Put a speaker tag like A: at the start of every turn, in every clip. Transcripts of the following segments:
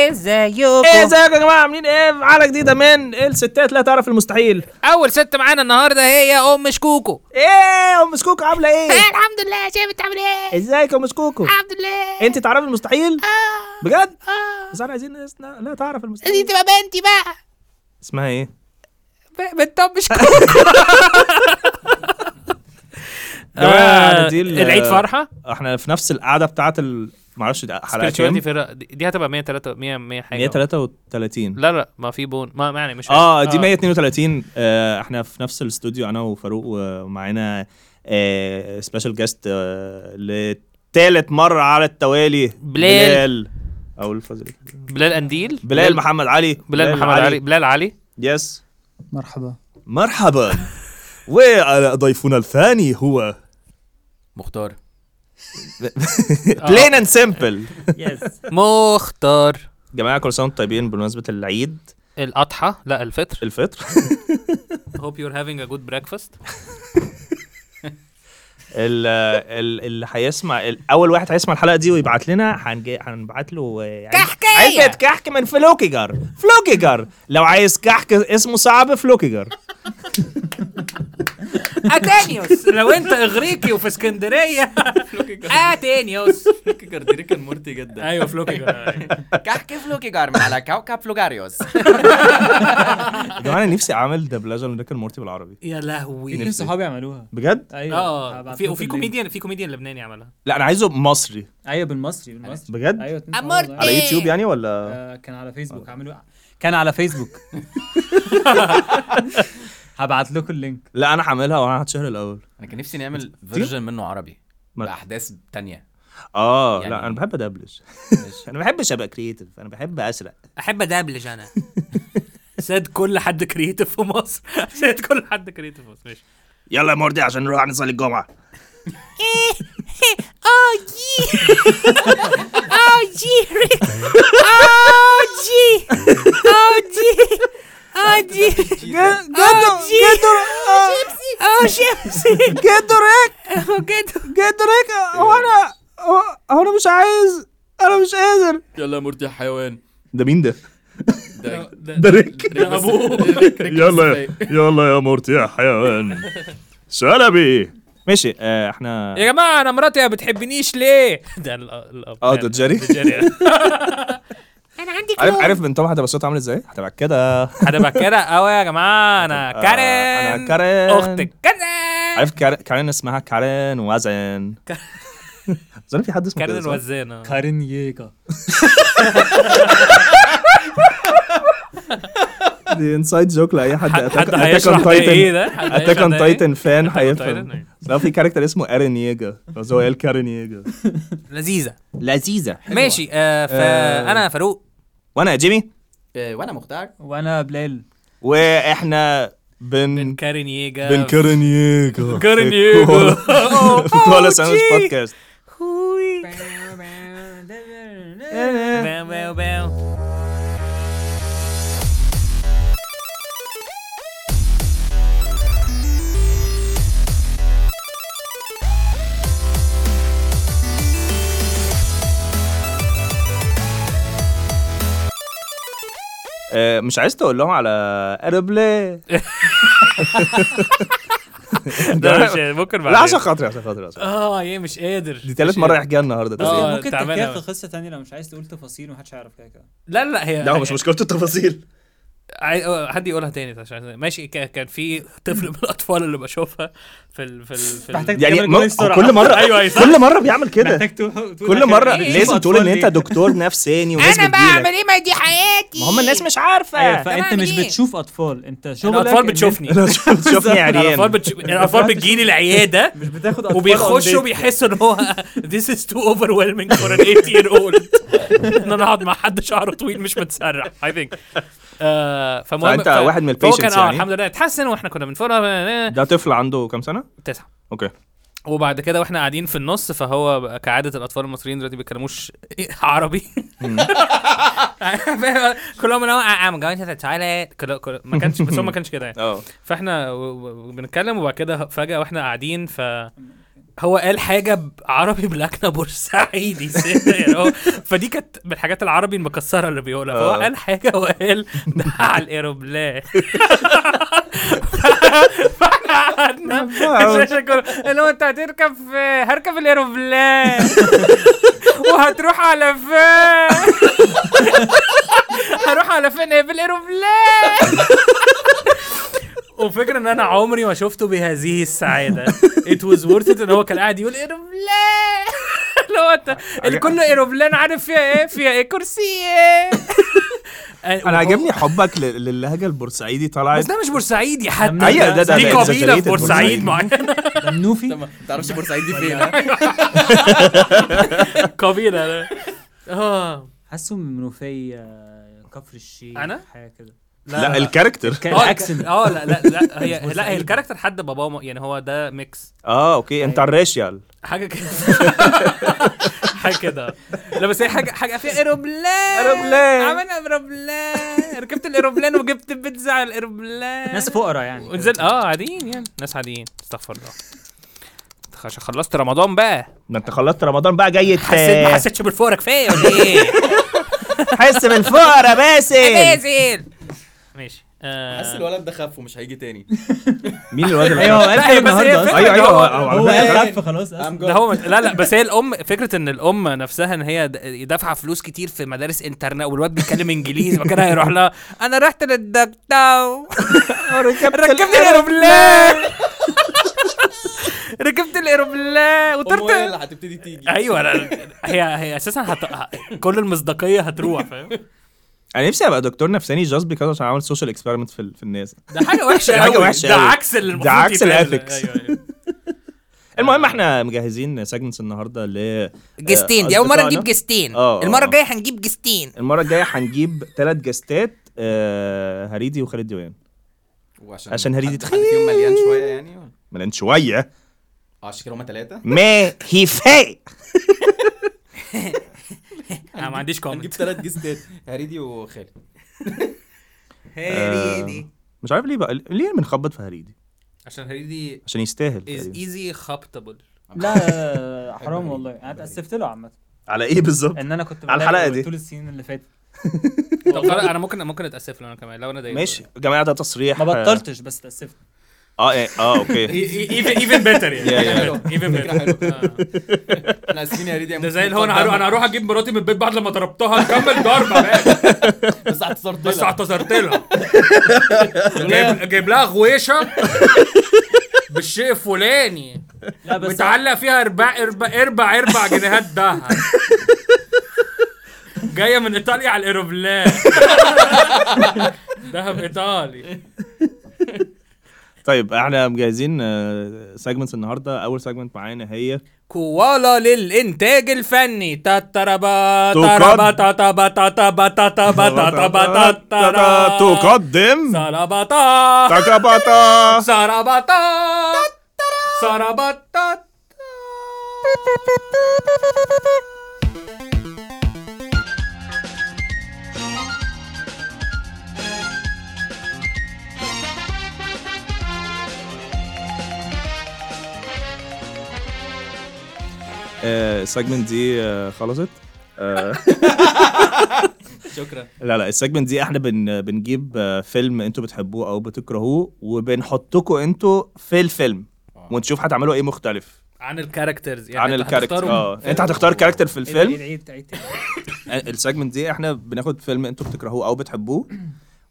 A: ازيكم
B: ايه ازيكم يا جماعه عاملين ايه في حلقه جديده من الستات لا تعرف المستحيل
A: اول ست معانا النهارده هي ام شكوكو
B: ايه ام سكوكو عامله ايه
C: ايه الحمد لله يا شايف انت عامل
A: إيه.
C: ايه؟
B: ازيك يا ام سكوكو
C: الحمد لله
B: انت تعرفي المستحيل
C: اه
B: بجد
C: اه
B: بس انا عايزين ناس لا لا تعرف
C: دي
B: المستحيل
C: تبقى بنتي بقى
B: اسمها
A: إيه؟
B: ايه
A: بنت ام شكوكو
B: جماعة،
A: آه،
B: أنا دي ال-
A: العيد فرحه
B: احنا في نفس القعده بتاعه ال... معرفش دي حلقه
A: spirituality أيوه.
B: كام
A: فرقة. دي- دي هتبقى 103 100 100 حاجه
B: 133
A: لا لا ما في بون ما ما يعني مش
B: اه دي 132 آه، احنا في نفس الاستوديو انا وفاروق ومعانا آه، سبيشال جيست آه، لتالت مره على التوالي
A: بلال.
B: او الفضل
A: بلال انديل
B: بلال محمد علي
A: بلال محمد علي بلال علي
B: يس
D: مرحبا
B: مرحبا وضيفنا الثاني هو
E: مختار
B: بلين اند
A: آه.
B: سمبل
D: يس
A: مختار
B: جماعه كل سنه وانتم طيبين بمناسبه العيد
A: الاضحى لا الفطر
B: الفطر
A: hope you're having a good breakfast
B: ال- ال- اللي هيسمع ال- اول واحد هيسمع الحلقه دي ويبعت لنا هنج- هنبعت له آه، علب-
C: كحكية.
B: علبه كحك من فلوكيجر فلوكيجر لو عايز كحك اسمه صعب فلوكيجر
A: اتانيوس لو انت اغريقي وفي اسكندريه اتانيوس
E: فلوكيجر دي ريكن مورتي جدا
D: أيوة،
A: ايوه فلوكيجر
E: كحك فلوكيجر على كوكب فلوجاريوس
B: يا جماعه انا نفسي اعمل دبلجه لريك مورتي بالعربي
A: يا
D: يمكن
A: لهوي
D: صحابي عملوها
B: بجد
D: ايوه
A: اه
D: هبعت
A: في
D: لكم
A: وفي
D: اللينك.
A: كوميديان في كوميديان لبناني عملها
B: لا انا عايزه مصري
D: ايوه بالمصري بالمصري
B: بجد؟
E: أيوة.
D: ايوه اتنين صحابي
C: أمرت.
D: والله.
E: إيه؟
B: على يوتيوب يعني ولا
D: آه، كان على فيسبوك عملوا كان على فيسبوك هبعت لكم اللينك
B: لا انا هعملها وانا هتشهر الاول
E: انا كان نفسي نعمل فيرجن منه عربي
B: طيب. ما-
E: باحداث تانية
B: اه
E: يعني-
B: لا انا بحب ادبلج
E: ماشي.
B: انا ما بحبش ابقى كرييتيف انا بحب اسرق
A: احب ادبلج انا ساد كل حد كريتيف في مصر ساد كل حد كريتيف في مصر ماشي
B: يلا يا مردي عشان نروح نصلي إيه، الجمعه
C: اه جي اه جي ريك اه جي اه جي اه جي اه جي اه شيبسي
B: جدو ريك
C: اه جدو
B: جدو ريك هو انا هو انا مش عايز انا مش قادر
E: يلا يا مورتي يا حيوان
B: ده مين ده؟
E: ده
B: ده ريك
E: ده ابوه
B: يلا يا مرتي يا حيوان سلبي ماشي آه احنا
A: يا جماعه انا مراتي ما بتحبنيش ليه ده ال- الاب
B: اه ده جاري
C: انا عندي
B: عارف
C: كلوب.
B: عارف بنت واحده بس صوتها عامل ازاي؟ هتبقى كده
A: هتبقى كده قوي يا جماعه انا
B: آه،
A: كارين
B: أنا كارين.
A: اختك كارين
B: عارف كار- كارين اسمها كارين وزن اظن في حد اسمه
A: كارين
B: كده صح؟
A: الوزان آه.
D: كارين ييكا
B: دي انسايد جوك لاي حد
A: حد- حد
B: Attack- Attack on
A: هيشرح ده
B: Titan.
A: ايه ده؟ حد
B: اتاك
A: هيشرح
B: اون
A: ده إيه؟
B: تايتن فان
A: Titan،
B: هيفهم
A: أيوة.
B: لا في كاركتر اسمه ايرن ييجا بس هو قال كارين ييجا
A: لذيذه
B: لذيذه
A: ماشي آه فانا فاروق
B: وانا يا جيمي
E: آه، وانا مختار
D: وانا بلال
B: واحنا
A: بن
B: بن
A: كارين ييجا
B: بن كارين ييجا
A: كارين ييجا. أوه،
B: كولا
A: أوه،
B: ساندويتش
A: جي.
B: بودكاست
A: هوي. باو باو باو
B: آه، مش عايز تقول لهم على اربلي
A: ده مش ممكن
B: لا عشان
A: بعدين
B: خاطري عشان خاطري عشان خاطري.
A: اه ايه مش قادر
B: دي تالت مره يحكيها النهارده
A: آه،
B: ده
D: ممكن
A: تعبانة
D: تحكيها
A: أوي.
D: في قصه تانية لو مش عايز تقول تفاصيل ومحدش هيعرف كده كده
A: لا لا هي
B: لا هو مش مشكلته التفاصيل
A: عاي- آه، حد يقولها تاني عشان ماشي ك- كان في طفل من الاطفال اللي بشوفها في ال في ال في ال-
D: محتاج
B: يعني
D: تكمل
B: م-
D: كل السرعة.
B: كل مره
A: أيوة، أيوة، صح.
B: كل مره بيعمل كده
D: محتاج تقول- تقول
B: كل
D: حاجة.
B: مره
D: إيه؟
B: لازم تقول ان
D: أطفال
B: انت
D: ليه؟
B: دكتور نفساني وناس
C: انا بعمل
B: بتجيلك
C: ايه ما دي حياتي
B: ما هم الناس مش
D: أيوة،
B: عارفه
D: فانت
C: بعمل
D: مش
C: إيه؟
D: بتشوف اطفال انت شغلك
A: الاطفال
D: إن
A: بتشوفني
B: لا، شوف- شوفني
A: الاطفال
B: عريان
A: بتشوف الاطفال بتجيلي العياده
D: مش بتاخد اطفال
A: وبيخشوا
D: on date.
A: بيحسوا ان هو this is too overwhelming for an 8 year old ان انا اقعد مع حد شعره طويل مش متسرح I think آه فمهم
B: فأنت واحد من
A: فهو
B: الpatients
A: كان اه
B: يعني؟
A: الحمد لله اتحسن واحنا كنا آه، بنفرها
B: ده طفل عنده كام سنه؟
A: تسعه
B: اوكي
A: وبعد كده واحنا قاعدين في النص فهو بقى كعاده الاطفال المصريين دلوقتي بيتكلموش آه، عربي كلهم اللي هو ام جوينت تو تويلت ما كانش بس هو ما كانش كده يعني
B: اه
A: فاحنا و- و- بنتكلم وبعد كده فجاه واحنا قاعدين ف هو قال حاجه عربي بلكنه بورسعيدي سنة يعني هو فدي كانت من الحاجات العربي المكسره اللي بيقولها فهو
B: آه.
A: قال حاجه وقال ده على الايروبلان فاحنا قعدنا الشاشه كلها اللي هو انت هتركب في هركب الايروبلان وهتروح على فين هروح على فين ايه بالايروبلان وفكرة ان انا عمري ما شفته بهذه السعاده it was worth it ان هو كان قاعد يقول ايروبلان اللي هو انت اللي كل ايروبلان عارف فيها ايه فيها ايه كرسي ايه
B: انا عاجبني حبك لل- للهجه البورسعيدي طلعت
A: بس ده مش بورسعيدي حتى
B: أيوة، ده- ده-
A: دي
B: ده
A: قبيله في
B: exaggerated بورسعيد.
A: بورسعيد معينه
D: ده منوفي
E: ما تعرفش بورسعيد دي فين ها؟
A: قبيله لا. اه
D: حاسه من منوفي آه، كفر الشيخ
A: أنا؟
D: حاجه كده
B: لا الكاركتر
D: كان
A: آه،
D: الاكسنت
A: اه لا لا لا هي لا
D: مش
A: هي
D: بورسعيدي.
A: الكاركتر حد باباه م- يعني هو ده ميكس
B: اه اوكي انت الراشيال
A: حاجه كده حاجه كده لا بس هي حاجه حاجه فيها ايروبلان
B: إيروبلان.
A: عملنا ايروبلان ركبت الايروبلان وجبت بيتزا على الايروبلان
D: ناس فقراء يعني
A: ونزل اه عاديين يعني ناس عاديين استغفر الله عشان خلصت رمضان بقى
B: ده انت خلصت رمضان بقى جاي
A: حسيت ما حسيتش بالفقرة كفايه ولا ايه؟
B: حس بالفقره باسل
A: نازل ماشي آه،
E: حاسس الولد ده خف ومش هيجي تاني
B: مين الواد اللي
D: ايوه
A: لا، هي
D: قال
A: بس هي
D: النهارده
A: فكرة
D: أصلاً.
B: ايوه ايوه
A: إن أيوه. هو-
B: هو
D: هو
B: على فكرة
D: خف خلاص
E: I'm
D: اصلا
A: ده
E: good.
A: هو لا لا بس هي الام فكره ان الام نفسها ان هي د- دافعه فلوس كتير في مدارس انترنت والواد بيتكلم انجليزي فكان هيروح لها انا رحت للدكتور ركبت الايروبلان ركبت الايروبلان
E: أمه هي
A: وطرت
E: اللي هتبتدي تيجي
B: أيوه.
A: ايوه لا هي هي اساسا هت... ه- كل المصداقيه هتروح فاهم
B: انا نفسي ابقى دكتور نفساني جاست بيكوز عشان عامل سوشيال اكسبيرمنت في في الناس
A: ده حاجه وحشه
B: ده حاجة
A: أوي.
B: وحشة
A: ده
B: أوي.
A: عكس اللي المفروض
B: عكس
A: يتعمل.
B: الethics.
A: أيوة، أيوة.
B: المهم احنا مجهزين سيجمنتس النهارده اللي
A: آه،
C: جستين دي اول مره
B: آه، أصدقائنا.
C: نجيب جستين
B: آه، آه،
C: المره
B: آه.
C: الجايه هنجيب جستين
B: المره الجايه هنجيب ثلاث جاستات آه، هريدي وخالد ديوان
E: وعشان
B: عشان هريدي
E: حد- حد فيهم مليان شويه يعني ولا؟
B: ملان شويه
E: اه عشان كده هما ثلاثه
B: ما هي فاق
A: انا ما عنديش
E: هنجيب
A: كومنت
E: ثلاث جيستات هريدي وخالد
B: إيه، هريدي. آه، مش عارف ليه بقى ليه بنخبط في هريدي
A: عشان هريدي
B: عشان يستاهل
A: از
B: تقريباً.
A: ايزي خبطبل
D: لا حرام والله انا اتاسفت له عامه
B: على ايه بالظبط
D: ان انا كنت
B: على الحلقة
D: بلاقي
B: دي.
D: طول السنين اللي فاتت
A: طب خلاص، انا ممكن ممكن اتاسف لو انا كمان لو انا ضايقت
B: ماشي يا جماعه ده تصريح آه،
D: ما بطلتش بس اتاسفت
B: اه اه اه اوكي
A: ايفن ايفن بيتر
B: Yeah,
A: يعني
E: yeah.
A: ايفن بيتر
E: احنا اسفين يا هريدي
A: ده زي اللي هو انا هروح انا هروح اجيب مراتي من البيت بعد لما ضربتها نكمل ضربه بقى.
E: بس اعتصرت
A: بس اعتذرت لها جايب, جايب لها غويشه بالشيء الفلاني
D: لا بس
A: متعلق فيها اربع اربع اربع اربع جنيهات دهب جايه من ايطاليا على الايروبلان دهب ايطالي
B: طيب احنا مجهزين آه، سيجمنتس النهارده اول سيجمنت معانا هي
A: كوالا للإنتاج الفني تاتربا
B: تقد-
A: تربا تاتبا تاتبا تاتبا تاتبا تاترا
B: تقدم
A: سربطا
B: تكبطة
A: سربطا سربطا
B: السيجمنت دي آه، خلصت آه،
E: شكرا
B: لا لا السيجمنت دي احنا بن بنجيب آه، فيلم انتوا بتحبوه او بتكرهوه وبنحطكم انتوا في الفيلم ونشوف هتعملوا ايه مختلف
A: عن الكاركترز آه.
B: عن
A: يعني أنت
B: الكاركتر
A: هتختارهم.
B: اه انت هتختار كاركتر في
D: الفيلم
A: إيه،
B: الفيلم
D: العيد تعيد تاني
B: السيجمنت دي احنا بناخد فيلم انتوا بتكرهوه او بتحبوه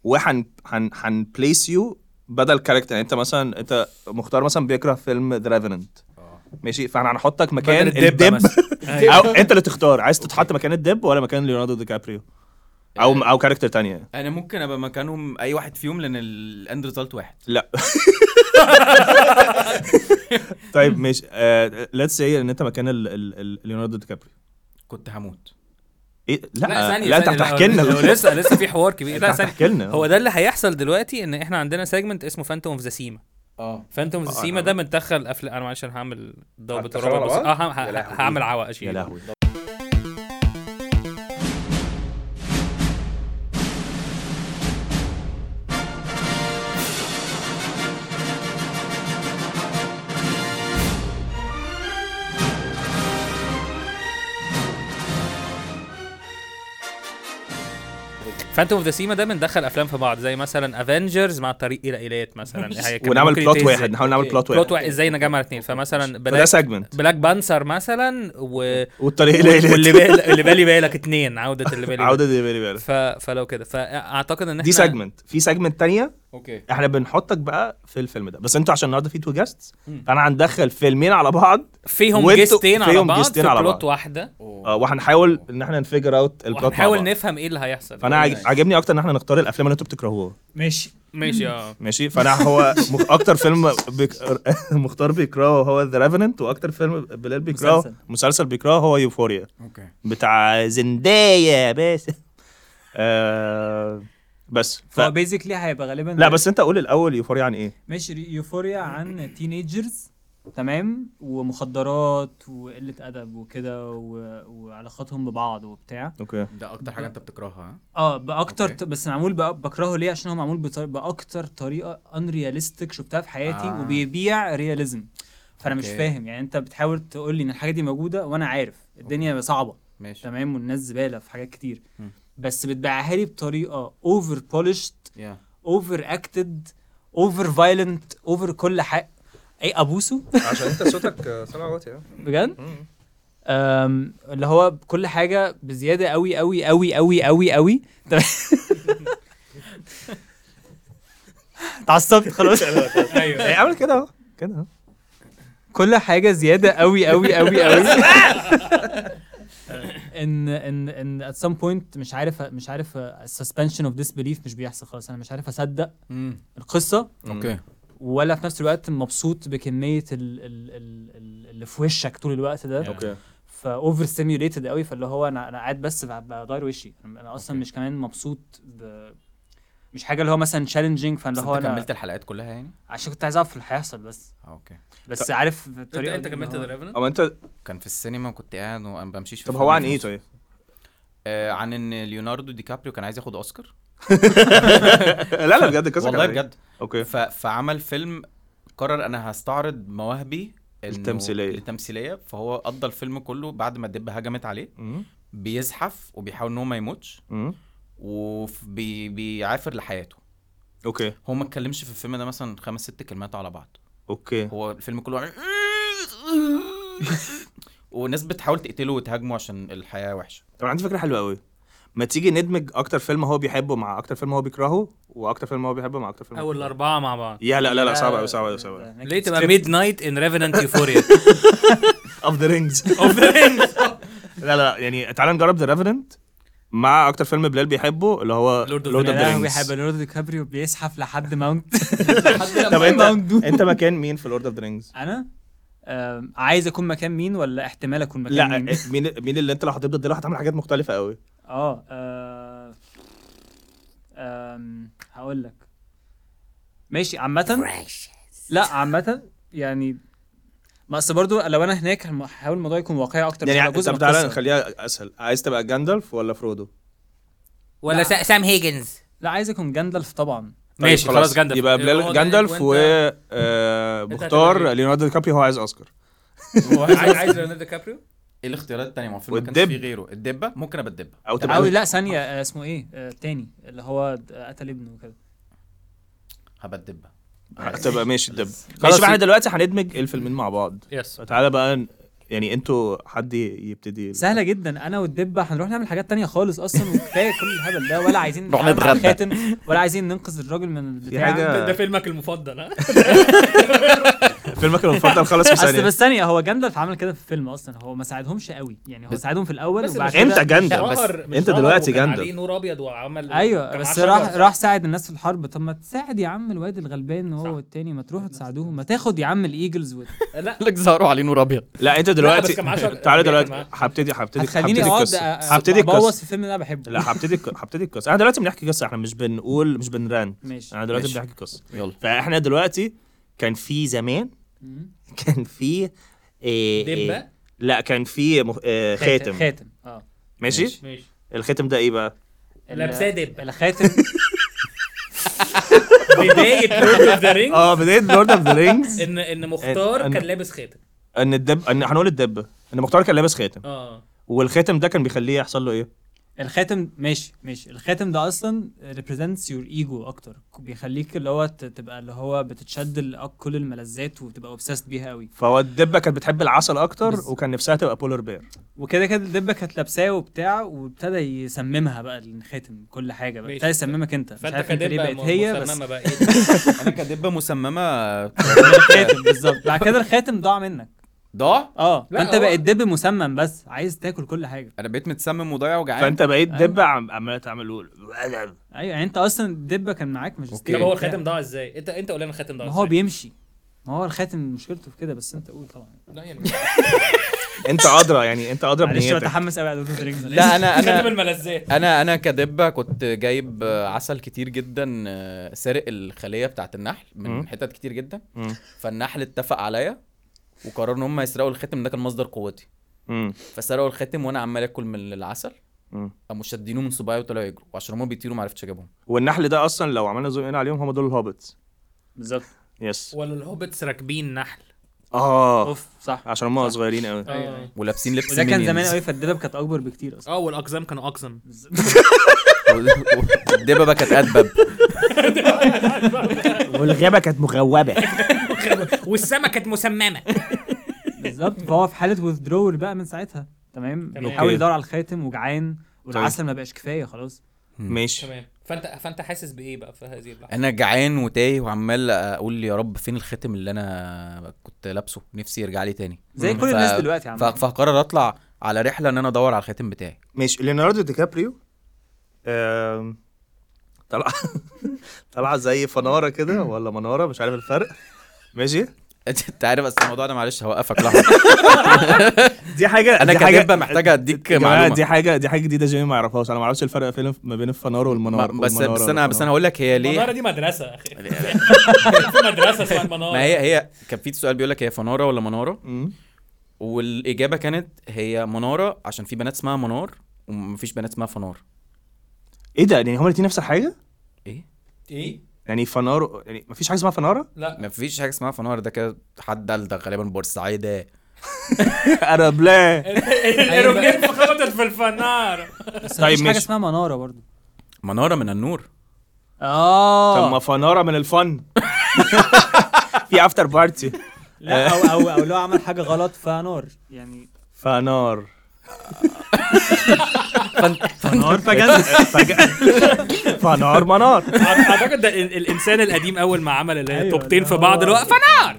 B: وهن هن هن بليس يو بدل كاركتر يعني انت مثلا انت مختار مثلا بيكره فيلم ذا ريفننت ماشي فاحنا هنحطك مكان
A: آه. بدل الدب
B: الدب
A: مثلاً.
E: أيوه.
B: او انت اللي تختار عايز تتحط مكان الدب ولا مكان ليوناردو دي كابريو او
A: آه.
B: او كاركتر تانية
E: انا ممكن ابقى مكانهم اي واحد فيهم لان الاند ريزلت واحد
B: لا طيب ماشي ليتس سي ان انت مكان ال- ال- ال- ليوناردو دي كابريو
E: كنت هموت
B: ايه لا
A: لا ثانية
B: لا انت
A: ثانية،
B: هتحكي لنا
A: هو لسه لسه في حوار كبير لا
B: انت
A: ثانية
B: هتحكي لنا
A: هو ده اللي هيحصل دلوقتي ان احنا عندنا سيجمنت اسمه فانتوم اوف ذا سيما
E: اه
A: فانتوم اوف ذا
B: آه،
A: سيما
B: أنا-
A: ده متدخل الافلام انا معلش انا هعمل ضابط
E: هتدخله على
A: الرابط بس
E: بعض؟
A: اه ه- ه-
E: يا لهوي.
A: هعمل عوائق شيء
B: يا لهوي
A: فانتوم اوف ذا سيما دايما دخل افلام في بعض زي مثلا افنجرز مع الطريق الى ايلات مثلا هي يعني كان
B: ونعمل
A: ممكن
B: plot
A: يتهز-
B: واحد، نحاول نعمل plot واحد.
A: plot ازاي نجمع الاثنين فمثلا
B: فده
A: بلاك
B: سيجمنت
A: بلاك بانسر مثلا و
B: والطريق
A: واللي
B: الى
A: بالي اللي بالي بالك اثنين عوده اللي بالي
B: عوده دي بالي بالك
A: ف... فلو كده فاعتقد ان احنا
B: دي سيجمنت في سيجمنت تانية
E: اوكي
B: احنا بنحطك بقى في الفيلم ده بس انتوا عشان النهارده في تو جاستس فانا هندخل فيلمين على بعض
A: فيهم
B: وانتوا-
A: جيستين على
B: فيهم
A: بعض
B: جيستين
A: في
B: على
A: بلوت
B: بعض.
A: واحده
B: آه، وهنحاول ان احنا نفيجر اوت البلوت مع
A: ونحاول
B: بعض.
A: نفهم ايه اللي هيحصل
B: فانا عاج-
E: Nice.
B: عاجبني اكتر ان احنا نختار الافلام اللي انتوا بتكرهوها
D: ماشي
A: ماشي اه
B: ماشي فانا هو مخ... اكتر فيلم بيك... مختار بيكرهه هو ذا ريفننت واكتر فيلم بلال بيكرهه
D: مسلسل.
B: مسلسل, بيكرهه هو يوفوريا
E: اوكي
B: بتاع زندايا بس آه... بس ف...
D: فهو بيزيكلي هيبقى غالبا
B: لا بس انت قول الاول يوفوريا عن ايه
D: ماشي يوفوريا عن تينيجرز تمام ومخدرات وقله ادب وكده و... وعلاقاتهم ببعض وبتاع
B: اوكي
E: ده اكتر حاجه انت بتكرهها ها؟
D: اه باكتر
E: أوكي.
D: ت... بس معمول بأ... بكرهه ليه عشان هو معمول بطر... باكتر طريقه انرياليستيك شفتها في حياتي
E: آه.
D: آه. وبيبيع رياليزم فانا مش
E: أوكي.
D: فاهم يعني انت بتحاول تقول لي ان الحاجه دي موجوده وانا عارف الدنيا صعبه
E: ماشي
D: تمام والناس زباله في حاجات كتير
E: مم.
D: بس بتبيعها لي بطريقه اوفر بولشت
E: يا
D: اوفر اكتد اوفر فايلنت اوفر كل حق اي ابوسه
B: عشان انت صوتك سامع واطي آه.
D: بجد أم، اللي هو كل حاجه بزياده قوي قوي قوي قوي قوي قوي تمام. اتعصبت خلاص
E: أيوة.
B: ايه عامل كده اهو كده اهو
D: كل حاجه زياده قوي قوي قوي قوي ان ان ان at some point مش عارف مش عارف suspension of disbelief مش بيحصل خالص انا مش عارف اصدق
E: امم
D: القصه
E: اوكي
D: ولا في نفس الوقت مبسوط بكميه ال ال ال ال- اللي في وشك طول الوقت ده
E: أوكي.
D: فاوفر ستيميوليتد قوي فاللي هو انا انا قاعد بس ب- بداير وشي انا أنا اصلا
E: أوكي.
D: مش كمان مبسوط ب... مش حاجه اللي هو مثلا تشالنجينج فاللي
E: بس
D: هو
E: انت
D: انا
E: كملت الحلقات كلها يعني
D: عشان كنت عايز اعرف اللي هيحصل بس
E: آه، اوكي
D: بس عارف
A: انت
D: الطريقه
A: انت
D: دي اللي
A: كملت
D: هو-
A: ذا ريفننت
B: اما انت
E: كان في السينما وكنت قاعد وما بمشيش في
B: طب هو عن
E: الفيلم
B: ايه
E: في نص.
B: طيب
E: آه عن ان ليوناردو دي كابريو كان عايز ياخد اوسكار
B: لا لا بجد قصة
E: والله
B: كده.
E: بجد
B: اوكي
E: ف... فعمل فيلم قرر انا هستعرض مواهبي إنه-
B: التمثيلية.
E: التمثيليه فهو قضى الفيلم كله بعد ما الدب هجمت عليه
B: مم.
E: بيزحف وبيحاول ان هو ما يموتش
B: مم.
E: وبيعافر لحياته
B: اوكي
E: هو ما اتكلمش في الفيلم ده مثلا خمس ست كلمات على بعض
B: اوكي
E: هو الفيلم كله عن- وناس بتحاول تقتله وتهاجمه عشان الحياه وحشه
B: طب عندي فكره حلوه قوي ما تيجي ندمج اكتر فيلم هو بيحبه مع اكتر فيلم هو بيكرهه واكتر فيلم هو بيحبه مع اكتر فيلم هو
A: او
B: بيكرهه.
A: الاربعه مع بعض
B: يا لا لا لا صعب قوي صعب قوي صعب قوي
A: ليه تبقى ميد نايت ان ريفننت يوفوريا
B: اوف ذا رينجز
A: اوف ذا رينجز
B: لا لا يعني تعال نجرب ذا ريفننت مع اكتر فيلم بلال بيحبه اللي هو
A: Lord of the
B: Lord of the
A: Rings.
B: Rings.
D: بيحب ليوناردو دي كابريو بيزحف لحد ماونت
B: طب
D: ماونت
B: انت
D: دو
B: انت مكان مين في لورد اوف ذا رينجز
D: انا أم، عايز اكون مكان مين ولا احتمال اكون مكان
B: لا
D: مين؟
B: مين مين اللي انت لو هتبدا دلوقتي هتعمل حاجات مختلفه قوي
D: اه آه، آم، هقول لك ماشي عامة لا عامة يعني ما اصل برضو لو انا هناك هم- هحاول الموضوع يكون واقعي اكتر
B: يعني
D: هيبقى جزء
B: طب
D: من
B: تعالى
D: القصة.
B: نخليها اسهل عايز تبقى جاندالف ولا فرودو
C: ولا سا- سام هيجنز
D: لا عايز اكون جندلف طبعا
B: طيب
A: ماشي خلاص جندلف
B: يبقى بلال جاندالف و آه،
A: أنت
B: مختار
A: هتبقى
B: ليوناردو دي كابري هو عايز اوسكار
E: هو عايز
A: عايز ليوناردو كابريو
E: ايه الاختيارات التانية ما هو الفيلم ما كانش
B: والدب.
E: فيه غيره الدبه ممكن ابقى الدبه
B: او
D: او
B: تبقى
D: لا ثانية آه، اسمه ايه آه، التاني اللي هو د- قتل ابنه وكده
E: هبقى الدبه
B: تبقى آه، ماشي الدب
A: خلاص.
B: خلاص بقى احنا دلوقتي هندمج الفيلمين مع بعض
A: يس
B: تعالى بقى ن- يعني انتوا حد ي- يبتدي
D: سهلة جدا انا والدبة هنروح نعمل حاجات تانية خالص اصلا وكفاية كل الهبل ده ولا عايزين
E: نروح
D: نتعامل مع
E: نتغدى.
D: الخاتم ولا عايزين ننقذ الراجل من
B: دي
D: البتاع
B: حاجه
A: فيلمك المفضل ها
B: فيلمك المفضل خلص في
D: اصل
B: ثانيه
D: بس ثانيه هو جندلف عمل كده في الفيلم اصلا هو ما ساعدهمش قوي يعني هو ساعدهم في الاول
A: بس
D: وبعد
A: بس-
D: كده
B: امتى جاندالف
E: بس
A: شهر- مش
B: انت
A: شهر
B: دلوقتي
A: وكان
B: جندل.
A: عليه نور ابيض وعمل
D: ايوه
A: كان
D: بس
A: عشرة
D: راح
A: صح؟
D: راح ساعد الناس في الحرب طب ما تساعد يا عم الواد الغلبان
A: صح.
D: هو والتاني ما تروحوا تساعدوهم ما تاخد يا عم الايجلز وت...
A: لا
E: لك زهروا عليه نور ابيض
B: لا انت
A: بس كان معاه شهر-
B: دلوقتي تعالى
A: بياكل
B: دلوقتي
A: معاه.
B: هبتدي هبتدي
D: هتخليني
B: هبتدي
D: اقعد
B: القصه
D: أ- أ-
B: هبتدي
D: ابوظ
B: القصه
D: في فيلم اللي انا بحبه
B: لا هبتدي الق- هبتدي القصه احنا دلوقتي بنحكي قصه احنا مش بنقول مش بنران
D: ماشي
B: احنا دلوقتي
E: ماشي.
B: بنحكي قصه
E: يلا
B: فاحنا دلوقتي كان في زمان
D: مم.
B: كان في إيه
A: دبه
B: إيه لا كان في مخ... إيه خاتم
D: خاتم اه
B: ماشي؟
E: ماشي.
A: ماشي
B: الخاتم ده ايه بقى؟
D: ال-
A: لابساه دب.
D: الخاتم
A: بدايه لورد اوف ذا رينج
B: اه بدايه لورد اوف ذا رينجز
A: ان ان مختار
B: آه. إن- إن-
A: كان لابس خاتم
B: ان الدب ان هنقول الدبه ان مختار كان لابس خاتم
A: اه
B: والخاتم ده كان بيخليه يحصل له ايه؟
D: الخاتم ماشي ماشي الخاتم ده اصلا ريبريزنتس يور ايجو اكتر بيخليك اللي هو ت- تبقى اللي هو بتتشد لكل الملذات وتبقى اوبسست بيها قوي
B: فهو الدبه كانت بتحب العسل اكتر
D: بس- أيوة.
B: وكان نفسها تبقى بولر بير
D: وكده كده الدبه كانت لابساه وبتاع وابتدى يسممها بقى الخاتم كل حاجه بقى
A: ماشي.
D: ابتدى يسممك انت مش
A: فانت
D: عارف انت ليه
A: كدبه
D: بقت
A: م-
D: هي بس
A: مصممة بقى ايه
E: انا كدبه مسممه
D: الخاتم بالظبط بعد كده الخاتم ضاع منك
E: ضاع
D: اه
A: لا،
D: فانت
A: هو-
D: بقيت دب مسمم بس عايز تاكل كل حاجه
E: انا بقيت متسمم وضايع وجعان
B: فانت بقيت
D: أيوة.
B: دبه عم- عماله تعمل قول.
D: ايوه يعني انت اصلا الدبه كان معاك مش
E: أوكي.
A: طب
D: ستيل
A: هو
D: بتاع.
A: الخاتم ضاع ازاي انت انت قول لنا الخاتم ضاع
D: ما
A: ازاي
D: هو بيمشي ما هو الخاتم مشكلته في كده بس انت قول طبعا
A: لا يعني
B: انت ادرى يعني انت ادرى
D: معلش
B: بنيتك
D: بتحمس قوي على دكتور درينجز
E: لا انا
A: خاتم
E: انا
A: الملذات
E: انا انا كدبه كنت جايب آه، عسل كتير جدا آه، سارق الخليه بتاعت النحل
B: مم.
E: من حتت كتير جدا
B: مم.
E: فالنحل اتفق عليا وقرروا ان هم يسرقوا الخاتم ده كان مصدر قوتي
B: مم.
E: فسرقوا الخاتم وانا عمال اكل من العسل
B: مم.
E: قاموا شادينه من صباعي وطلعوا يجروا وعشان هم بيطيروا ما عرفتش اجيبهم
B: والنحل ده اصلا لو عملنا زوم ان عليهم هم دول الهوبتس
D: بالظبط
B: يس
A: ولا الهوبتس راكبين نحل
B: اه
D: اوف صح
B: عشان هم صغيرين
A: آه.
B: قوي
D: أيوة، أيوة.
E: ولابسين لبس
D: وده كان
E: minions.
D: زمان قوي فالدبب كانت اكبر بكتير اصلا
A: اه والاقزام كانوا اقزم
E: الدببه كانت ادبب
B: والغابه كانت مغوبه
A: والسما كانت مسممه
D: بالظبط فهو في حاله وذدرول بقى من ساعتها تمام
A: تمام.
D: بيحاول
B: أوكي.
D: يدور على الخاتم وجعان والعسل ما بقاش كفايه خلاص
B: ماشي
A: تمام فانت فانت حاسس بايه بقى في هذه اللحظه
E: انا جعان وتايه وعمال اقول يا رب فين الخاتم اللي انا كنت لابسه نفسي يرجع لي تاني
D: زي
E: مم.
D: كل
E: ف-
D: الناس دلوقتي
E: ف-
D: عم
E: فهقرر اطلع على رحله ان انا ادور على الخاتم بتاعي
B: ماشي ليوناردو دي كابريو آم، طلع طلع زي فناره كده ولا مناره مش عارف الفرق ماشي
E: انت عارف بس الموضوع ده معلش هوقفك لحظه
B: دي حاجه
E: انا
B: دي حاجة-
E: كدبه محتاجه اديك
B: يا جماعة،
E: معلومه
B: دي حاجه دي حاجه جديده جيمي ما يعرفهاش انا ما اعرفش الفرق فين ما بين الفنار والمنار
E: ما- بس
B: والمنارة
E: بس انا بس انا
B: والفنار.
E: هقول لك هي ليه
A: المناره دي مدرسه اخي في مدرسه اسمها المناره
E: ما هي هي كان في سؤال بيقول لك هي فناره ولا مناره
B: مم.
E: والاجابه كانت هي مناره عشان في بنات اسمها منار ومفيش بنات اسمها فنار
B: ايه ده يعني هما الاثنين نفس الحاجه
E: ايه
A: ايه
B: يعني فنار يعني ما فيش حاجه اسمها فناره
A: لا
E: مفيش حاجه اسمها فنار ده كده حد قال ده غالبا بورسعيد
B: انا بلا
A: الايروبلين خبطت في الفنار
D: بس
B: طيب
D: مفيش حاجه
B: ماشي.
D: اسمها مناره برضو
E: مناره من النور
B: طب ما
D: اه
B: فناره من الفن في افتر بارتي
D: لا او او او لو عمل حاجه غلط فنار يعني
B: فنار
D: فنار فجد
B: فج- فنار منار
A: اعتقد ده ال- الانسان القديم اول ما عمل اللي هي
D: أيوة،
A: طوبتين
D: ده
A: في
D: هو-
A: بعض اللي هو فنار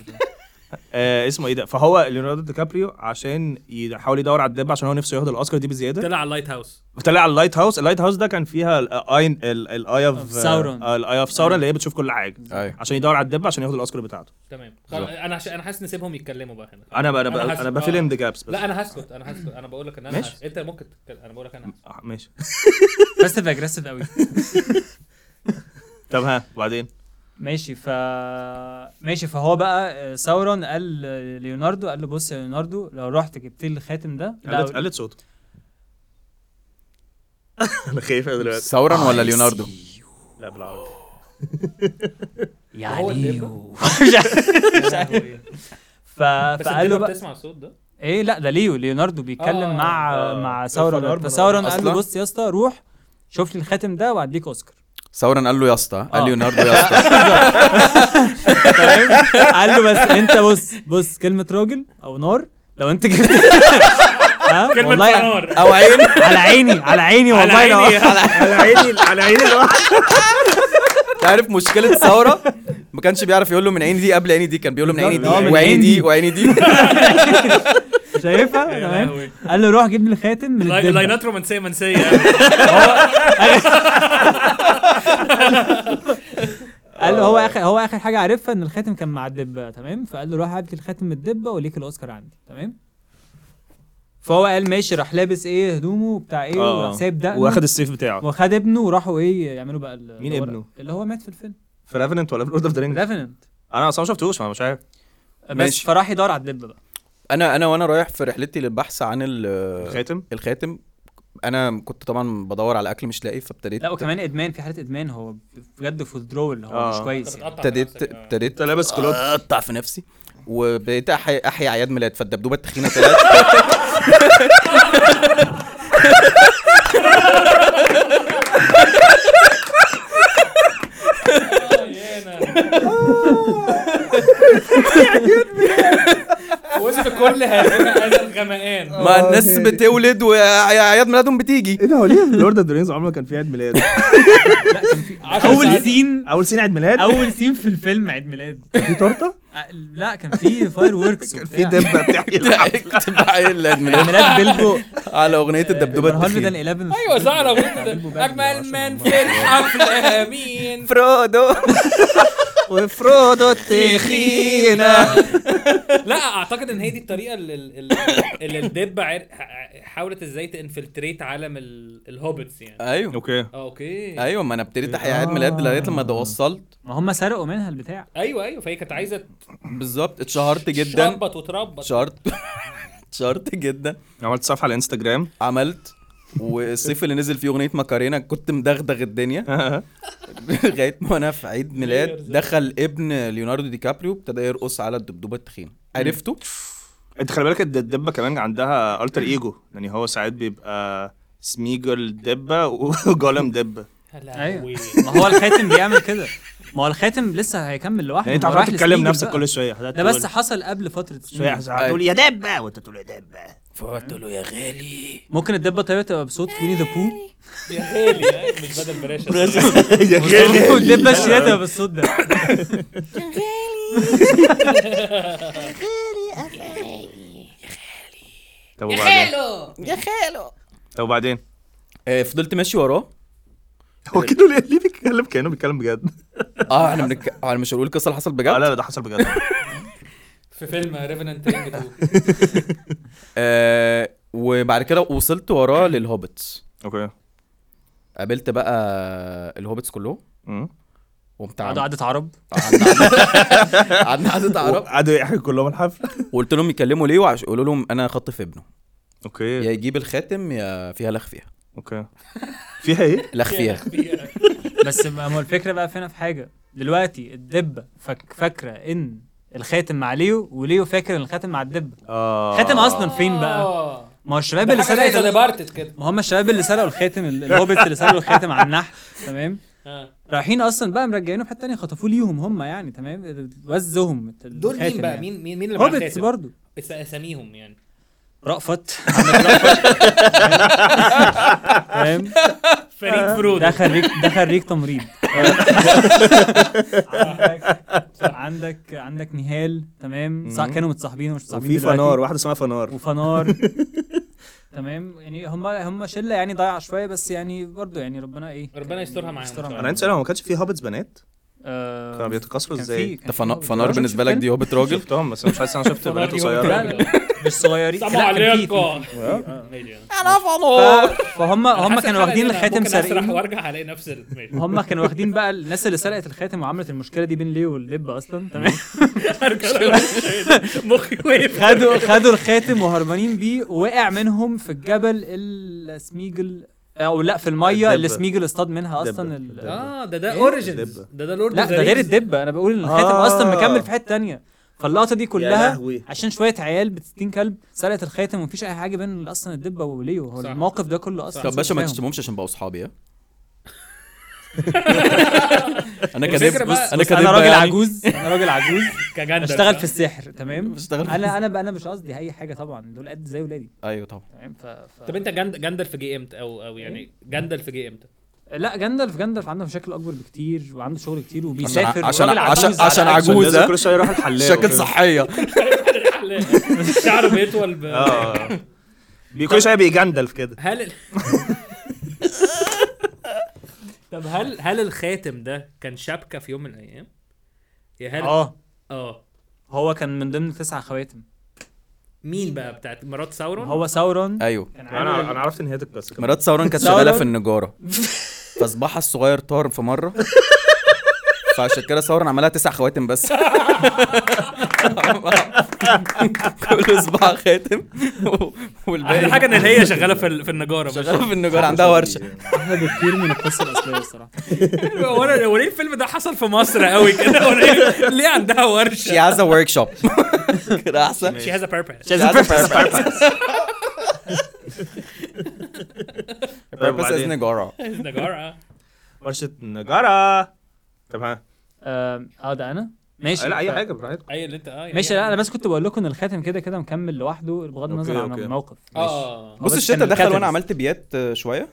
B: آه اسمه ايه ده فهو ليوناردو دي كابريو عشان يحاول يدور على الدب عشان هو نفسه ياخد الاوسكار دي بزياده
A: طلع على اللايت هاوس
B: طلع على اللايت هاوس اللايت هاوس ده كان فيها آه، الاي الاي اوف
D: Of Sauron. أيوه.
B: الاي اوف ساورون اللي هي بتشوف كل حاجه
E: ايوه
B: عشان يدور على الدب عشان ياخد الاوسكار بتاعته
A: تمام خلاص انا عش- انا حاسس نسيبهم يتكلموا بقى هنا
B: انا بقى انا
A: أنا
B: بقى
A: حاسس-
B: انا بفيل
A: آه.
B: ان ذا جابس بس
A: لا انا هسكت انا هسكت انا بقول لك ان انا
B: ماشي.
A: هسكت. انت ممكن تتكلم انا بقول لك انا هسكت.
B: آه، ماشي
D: بس اجريسيف قوي
B: طب ها وبعدين
D: ماشي ف ماشي فهو بقى آه، ساورون قال آه، ليوناردو قال له بص يا ليوناردو لو رحت جبت لي الخاتم ده لا،
B: قلت قلت صوته انا خايف أوي دلوقتي
E: ثورا ولا ليوناردو
B: لا بالعربي
A: هو اللي
D: ف...
A: بس
D: فقال
A: انت
D: له بقى
A: بتسمع الصوت ده
D: ايه لا ده ليو ليوناردو بيتكلم
A: آه،
D: مع
B: آه.
D: مع
B: الفنار
D: ساورون
B: بنار.
D: فساورون قال له
E: أصلاً؟
D: بص يا اسطى روح شوف لي الخاتم ده وهديك اوسكار
E: ثورا قال له يا اسطى قال
D: آه.
E: ليوناردو يا اسطى
D: تمام قال له بس انت بص بص كلمه راجل او نار لو انت جبت ها
A: كلمه
D: والله
A: فنار
E: او عين
D: على عيني على عيني
A: على
D: والله لو-
A: عيني على
B: على عيني على عيني الواحد
E: تعرف مشكله ثوره ما كانش بيعرف يقول له من عيني دي قبل عيني دي كان بيقول له من عيني دي
D: بالظبط. آه، من
E: وعيني
D: عيني
E: دي
D: دي.
E: وعيني دي
D: شايفها تمام
A: لهوي.
D: قال له روح جيب لي الخاتم من
A: لاي-
D: الدبة.
A: لاينات رومانسيه منسيه
D: قال له هو اخر هو اخر حاجه عارفها ان الخاتم كان مع الدبه تمام فقال له روح هات لي الخاتم من الدبه وليك الاوسكار عندي تمام فهو قال ماشي راح لابس ايه هدومه وبتاع ايه
B: آه.
D: وراح سايب ده
B: أيوة، واخد السيف بتاعه
D: وخد ابنه وراحوا ايه يعملوا بقى ال-
B: آه. مين
D: الورق-
B: ابنه؟
D: اللي هو مات في الفيلم
B: في ريفننت ولا في لورد اوف ذا رينجز
D: ريفننت
B: انا اصلا ما شفتوش فأنا مش عارف
D: بس
E: ماشي.
D: فراح يدور على الدبه بقى
E: انا انا وانا رايح في رحلتي للبحث عن ال-
B: الخاتم
E: الخاتم انا كنت طبعا بدور على اكل مش لاقي فابتديت
D: لا وكمان ادمان في حاله ادمان هو بجد في الدرول هو
B: آه.
D: مش كويس يعني
E: ابتديت ابتديت
B: انت لابس كلوب
E: اقطع في نفسي وبقيت احيي احيي اعياد ميلاد فالدبدوبه التخينه طلعت
A: كل هذا هذا
D: آه،
A: الغمقان
E: ما الناس
B: أوكي.
E: بتولد وعياد ميلادهم بتيجي
B: ايه ده هو ليه لورد اوف ذا رينجز عمره ما كان فيه عيد ميلاد
D: اول سين
B: اول سنه عيد ميلاد
D: اول سين في الفيلم عيد ميلاد
B: في تورته
D: آه، لا كان في فاير وركس
B: كان في دبه بتحكي
E: عيد ميلاد
D: ميلاد بيلبو
E: على اغنيه
D: إيه، آه،
E: الدبدوبه
D: هولفدن
E: الدخيل
D: 11
A: ايوه زعرة وانت اجمل من في الحفل مين
E: فرودو
B: وفرودو تخينا
A: لا اعتقد ان هي دي الطريقه اللي, اللي الدب عر- ح- حاولت ازاي تنفلتريت عالم ال- الهوبتس يعني
E: ايوه
B: اوكي
A: آه، اوكي
E: ايوه ما انا ابتديت احيي عيد ميلاد لغايه لما توصلت
D: ما هم سرقوا منها البتاع
A: ايوه ايوه فهي كانت عايزه
E: بالظبط اتشهرت جدا
A: تربط وتربط
E: اتشهرت اتشهرت جدا
B: عملت صفحه على الانستجرام
E: عملت والصيف اللي نزل فيه اغنيه ماكارينا كنت مدغدغ الدنيا لغايه ما انا في عيد ميلاد دخل ابن ليوناردو دي كابريو ابتدى يرقص على الدبدوبه التخينه عرفته
B: انت خلي بالك الد- الدبه كمان عندها التر ايجو يعني هو ساعات بيبقى سميجل دبه وجولم دبه
D: ايوه ما هو الخاتم بيعمل كده ما هو الخاتم لسه هيكمل لوحده
B: يعني انت
D: ما هو رايح
B: عمال تتكلم
D: لسبيجل
B: نفسك
D: بقى.
B: كل شويه هتقعد
D: ده بس
B: تقول-
D: حصل قبل فتره
B: شويه
D: سنين.
B: إيه؟ هتقول يا دبه وانت تقول يا دبه
E: فقلت له يا غالي
D: ممكن الدبه طيب تبقى بصوت ويني ذا بو
A: يا غالي آه، مش بدل براشا
B: يا غالي.
D: الدبه الشياطه تبقى بالصوت ده
B: طب وبعدين
C: حلو
B: طب وبعدين
E: آه، فضلت ماشي وراه
B: هو كده ليه ليه بيتكلم كانه بيتكلم بجد
E: اه احنا بنك... انا مش هقول القصه اللي حصلت
B: آه، لا
E: بجد
B: لا ده حصل بجد
A: في فيلم ريفننت رينج 2
E: آه وبعد كده وصلت وراه للهوبتس
B: اوكي
E: قابلت بقى الهوبتس كلهم
B: مم.
E: وقمت
D: قعدوا
E: عامل-
D: قعدة عرب
E: قعدنا قعدة عرب
B: قعدوا يحكوا كلهم الحفل
E: وقلت لهم يكلموا ليه وعش قولوا لهم انا خطف ابنه
B: اوكي
E: يا يجيب الخاتم يا فيها لخ فيها
B: اوكي فيها ايه؟
E: لخ فيها
D: بس ما هو الفكره بقى فينا في حاجه دلوقتي الدبه فك فاكره ان الخاتم مع ليو وليو فاكر ان الخاتم مع الدبه
B: اه
D: الخاتم اصلا فين بقى
A: اه
D: ما هو الشباب
A: آه. ده
D: اللي
A: حاجه زي
D: سرقت
A: ديبارتد كده
D: ما هم الشباب اللي سرقوا الخاتم ال- الهوبت اللي سرقوا الخاتم على النحل تمام
A: آه.
D: رايحين اصلا بقى مرجعينه في حته تانيه خطفوه ليهم هم يعني تمام وزهم الت-
A: دول مين
D: الخاتم
A: بقى
D: يعني.
A: مين مين مين اللي معاه
D: هوبتس
A: الخاتم؟
D: برضه
A: اس- اساميهم يعني
D: رأفت عندك رأفت. تمام
A: فريد فرود
D: ده خريج ده خريج تمريض عندك عندك عندك نهال تمام صح
B: مم.
D: كانوا متصاحبين ومش متصاحبين
B: وفي
D: دلوقتي.
B: فنار واحده اسمها فنار
D: وفنار تمام يعني هم هم شله يعني ضايعه شويه بس يعني برضه يعني ربنا ايه
A: ربنا يسترها معاهم
D: يسترها
A: إن شاء
D: معاهم.
B: انا عندي سؤال هو ما كانش فيه هابتس بنات؟
D: آه،
B: كانوا بيتكاثروا
D: كان في-
B: ازاي؟
D: كان
E: ده
D: في
E: فنا-
D: هوبت.
E: فنار بالنسبه لك دي هوبت راجل
B: شفتهم بس أنا مش حاسس انا شفت بنات
D: لا،
B: قصيره
D: لا، مش صغيرين
A: سلام
D: لا، كان في-
A: عليكم
D: آه.
A: ماشي. آه.
D: ف- فهم هم
A: حاسس
D: كانوا
A: الحلقة دي
D: واخدين
A: أنا
D: الخاتم
A: ممكن اسرح
D: سارقين
A: وارجع الاقي نفس ال- ماشي.
D: هم كانوا واخدين بقى الناس اللي سرقت الخاتم وعملت المشكله دي بين ليو واللب اصلا تمام
A: أرجع ألاقي الشيء ده. مخي وقف
D: خدوا خدوا الخاتم وهربانين بيه ووقع منهم في الجبل السميجل او لا في الميه اللي
B: الدبة.
D: سميجل اصطاد منها
B: الدبة.
D: اصلا ال...
B: الدبة.
A: اه ده ده
D: إيه؟
A: اوريجنز
B: دبة.
A: ده ده لورد
D: لا ده غير الدبه انا بقول ان الخاتم
B: آه.
D: اصلا مكمل في حته تانية فاللقطه دي كلها
B: لهوي.
D: عشان شويه عيال ب 60 كلب سرقت الخاتم ومفيش اي حاجه بين اصلا الدبه وليو هو
A: صح.
D: الموقف ده كله اصلا
E: طب باشا ما
D: شفناهم.
E: تشتمهمش عشان بقوا اصحابي ها؟ انا
A: الفكرة
E: كداب بص
A: بقى-
E: انا
D: بس
E: كداب
D: انا راجل
E: يعني.
D: عجوز انا راجل عجوز
A: كجندر
D: بشتغل
A: صح؟
D: في السحر تمام
E: بشتغل في
D: انا انا بقى انا مش قصدي اي حاجه طبعا دول قد زي ولادي
E: ايوه طبعا
D: تمام ف... ف...
A: طب انت جند جندر في جي امتى او او
D: إيه؟
A: يعني جندر في جي امتى
D: لا جندلف جندلف عنده مشاكل اكبر بكتير وعنده شغل كتير
E: عشان
D: وبيسافر
E: عشان
D: راجل
E: عشان,
D: عجوز
E: عشان
D: على عجوز.
E: عجوز
B: لازم
E: ها؟
B: آه. كل شويه يروح الحلاق
E: شكل
D: أيوة.
E: صحيه
A: شعره بيطول
D: آه.
A: ب...
B: اه بي- كل شويه بيجندل كده
A: هل ال... طب هل هل الخاتم ده كان شبكه في يوم من الايام؟ يا هل
D: اه
A: اه
D: هو كان من ضمن تسع خواتم
A: مين بقى بتاعت مرات ساورون؟
D: هو ساورون
E: ايوه
D: كان عامل
B: انا انا عرفت نهايه القصه كمان.
E: مرات ثوران كانت شغاله
D: ثوران؟
E: في النجاره فصباحها الصغير طار في مره فعشان كده ثوران عملها تسع خواتم بس كل صباع خاتم و-
A: احلى
E: والباقي
A: حاجه ان هي شغاله في ال- في النجاره مش
E: شغاله في النجاره عندها ورشه
D: احلى بكتير من القصه الاصليه الصراحه
A: هو انا هو ليه الفيلم ده حصل في مصر قوي كده هو ليه- ليه عندها ورشه؟
E: شي عايزه ورك شوب كده احسن
A: She has a purpose.
E: She has a purpose.
B: طيب
E: Purpose is
B: وبعدين؟
E: نجاره
A: نجارة آه.
B: ورشه نجاره طب ها
D: آم، اه ده انا ماشي
B: لا اي
D: ف-
B: حاجه براحتك
A: اي اللي انت اه
D: ماشي لا انا بس كنت بقول لكم ان الخاتم كده كده مكمل لوحده بغض النظر
B: أوكي،
D: عن
B: أوكي.
D: الموقف آه.
A: اه
E: بص
D: بس
E: الشتا
D: كان
E: دخل
D: الكاتب.
E: وانا عملت بيات آه، شويه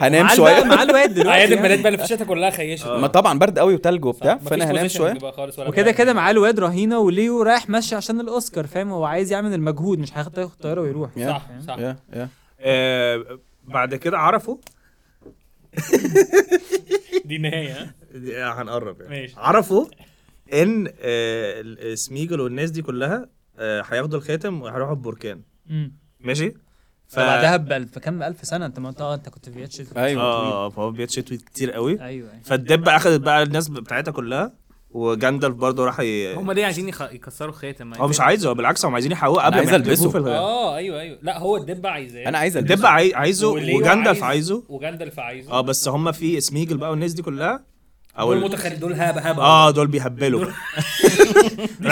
E: هنام
D: معاه الواد- معاه
E: شويه
D: الواد دلوقتي
A: اعياد
D: يعني.
A: البنات بقى اللي في الشتا كلها خيشت
E: ما طبعا برد قوي وتلج وبتاع فانا هنام شويه
D: وكده كده معاه الواد رهينه وليو رايح ماشي عشان الاوسكار فاهم هو عايز يعمل المجهود مش هياخد ياخد طياره ويروح
E: يا.
A: صح صح
E: يا يا
B: آه بعد كده عرفوا
A: دي آه. النهايه ها؟
B: هنقرب يعني
A: ماشي.
B: عرفوا ان آه ال- سميجل والناس دي كلها آه، هياخدوا الخاتم وهيروحوا البركان
D: مم.
B: ماشي ف
D: بعدها بألف كم ألف سنة أنت ما أنت آه، أنت كنت في اتش
E: ايوه
B: اه فهو بيتش تويت كتير قوي
A: أيوة.
D: أيوه أيوه
B: فالدب اخذت بقى الناس بتاعتها كلها وجاندalf برضه راح ي...
A: هم ليه عايزين يخ- يكسروا الخاتم
B: هو مش عايزه هو بالعكس هم عايزين يحققوه قبل
E: أنا
B: ما
E: عايز
B: يحتفوا
E: ألبسه.
B: في الغ-
A: اه ايوه ايوه لا هو الدب عايزاه
E: انا عايز
B: الدب
E: البسه
B: عاي- عايزه
A: وليو
B: وجاندalf
A: عايز-
B: عايزه
A: وجاندلف عايزه
B: اه بس هم في سميجل بقى والناس دي كلها او
A: دول
B: ال-
A: متخيل دول هابه هابه
B: اه دول بيهبلوا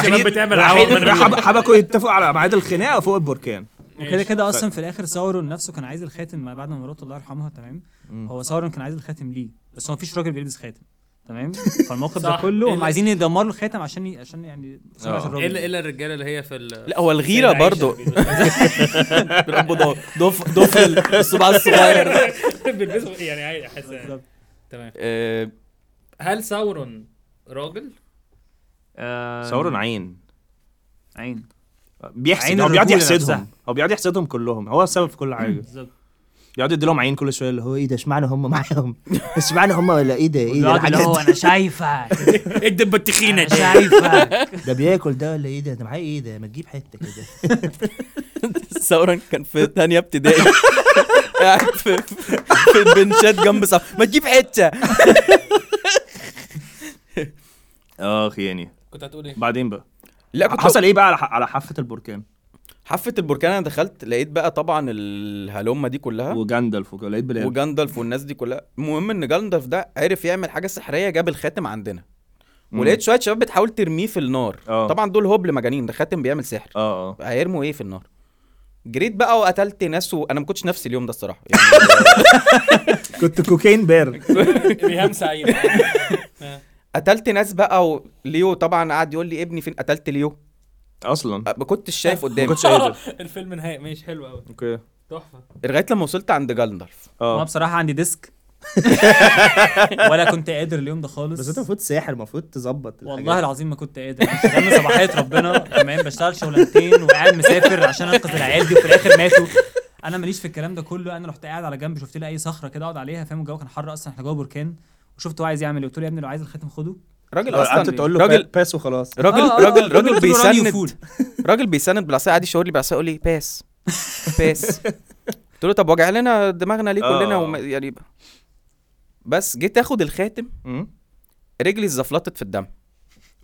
A: شباب بتعمل
B: رايحين-
A: عوض من غير-
B: راح- حبكوا يتفقوا على ميعاد الخناقه فوق البركان
D: وكده كده أصلا في الآخر ساورون نفسه كان عايز الخاتم ما بعد ما مراته الله يرحمها تمام هو ساورون كان عايز الخاتم ليه بس هو مفيش راجل بيلبس خاتم تمام فالموقف ده
A: صح.
D: كله هم
A: إلا-
D: عايزين يدمروا الخاتم عشان ي... عشان يعني سمعة
B: آه.
D: الراجل.
A: الا الا الرجاله اللي هي في ال
E: لا هو الغيره برضه بالاب ضاف ضف ضف الصباع الصغير
A: بالنسبه يعني عادي احس
D: بالظبط.
A: تمام
E: آه،
A: هل ساورون راجل؟
D: آه،
B: ثورة عين
D: عين
B: بيحسد
D: عين
B: هو بيقعد
D: الرجولة
B: يحسدهم
D: نفسها.
B: هو بيقعد يحسدهم كلهم هو السبب في كل حاجه
D: بالظبط
B: بيقعد يدي لهم عين كل شويه اللي هو ايه ده اشمعنى هم معاهم اشمعنى هم ولا ايه ده ايه ده
D: الواد اللي
B: الحاجات
D: هو أنا شايفك
A: الدبه التخينه
D: أنا شايفك
B: ده بياكل ده ولا ايه ده ده معاه ايه ده ما تجيب حته كده
E: ثورا كان في تانية ابتدائي قاعد في في- في البنشات جنب صف ما تجيب حته
B: اخ يعني
A: كنت هتقول ايه؟
B: بعدين بقى
E: لا كنت
B: حصل ايه بقى على على حافه البركان
E: حفه البركان انا دخلت لقيت بقى طبعا الهلومه دي كلها
B: وجاندالف وكده لقيت بلال
E: وجاندالف والناس دي كلها المهم ان جاندالف ده عرف يعمل حاجه سحريه جاب الخاتم عندنا
B: مم.
E: ولقيت شويه شباب بتحاول ترميه في النار
B: آه.
E: طبعا دول هبل مجانين ده خاتم بيعمل سحر
B: اه اه
E: هيرموا ايه في النار جريت بقى وقتلت ناس وانا ما كنتش نفسي اليوم ده الصراحه يعني
B: كنت كوكايين بير
A: ريهام سعيد
E: قتلت ناس بقى وليو طبعا قعد يقول لي ابني فين قتلت ليو
B: اصلا
E: أه، ما كنتش شايف
B: ما
E: قدامي
B: كنتش قادر
A: الفيلم نهائي ماشي حلو قوي
B: اوكي
A: تحفه
E: لغايه لما وصلت عند جالندرف
D: أنا
B: اه
D: بصراحة عندي ديسك ولا كنت قادر اليوم ده خالص
B: المفروض ساحر المفروض تظبط
D: والله العظيم ما كنت قادر انا شغال من صباحيه ربنا تمام بشتغل شغلانتين وقاعد مسافر عشان انقذ العيال دي وفي الاخر ماتوا انا ماليش في الكلام ده كله انا رحت قاعد على جنب شفت لي اي صخره كده اقعد عليها فاهم الجو كان حر اصلا احنا جوه بركان وشفت هو عايز يعمل ايه قلت له يا ابني لو عايز الخاتم خده
E: راجل
B: قعدت
E: اصلا
B: تقول له
E: راجل
B: باس وخلاص
E: راجل
D: آه، آه،
E: راجل
D: قلت له-
E: راجل
D: قلت له رانيو
E: بيسند
D: فول.
E: راجل بيسند بالعصايه قاعد يشاور لي بالعصايه يقول لي باس باس قلت له طب وجع لنا دماغنا ليه
B: آه.
E: كلنا وما يعني بس جيت اخد الخاتم رجلي اتزفلطت في الدم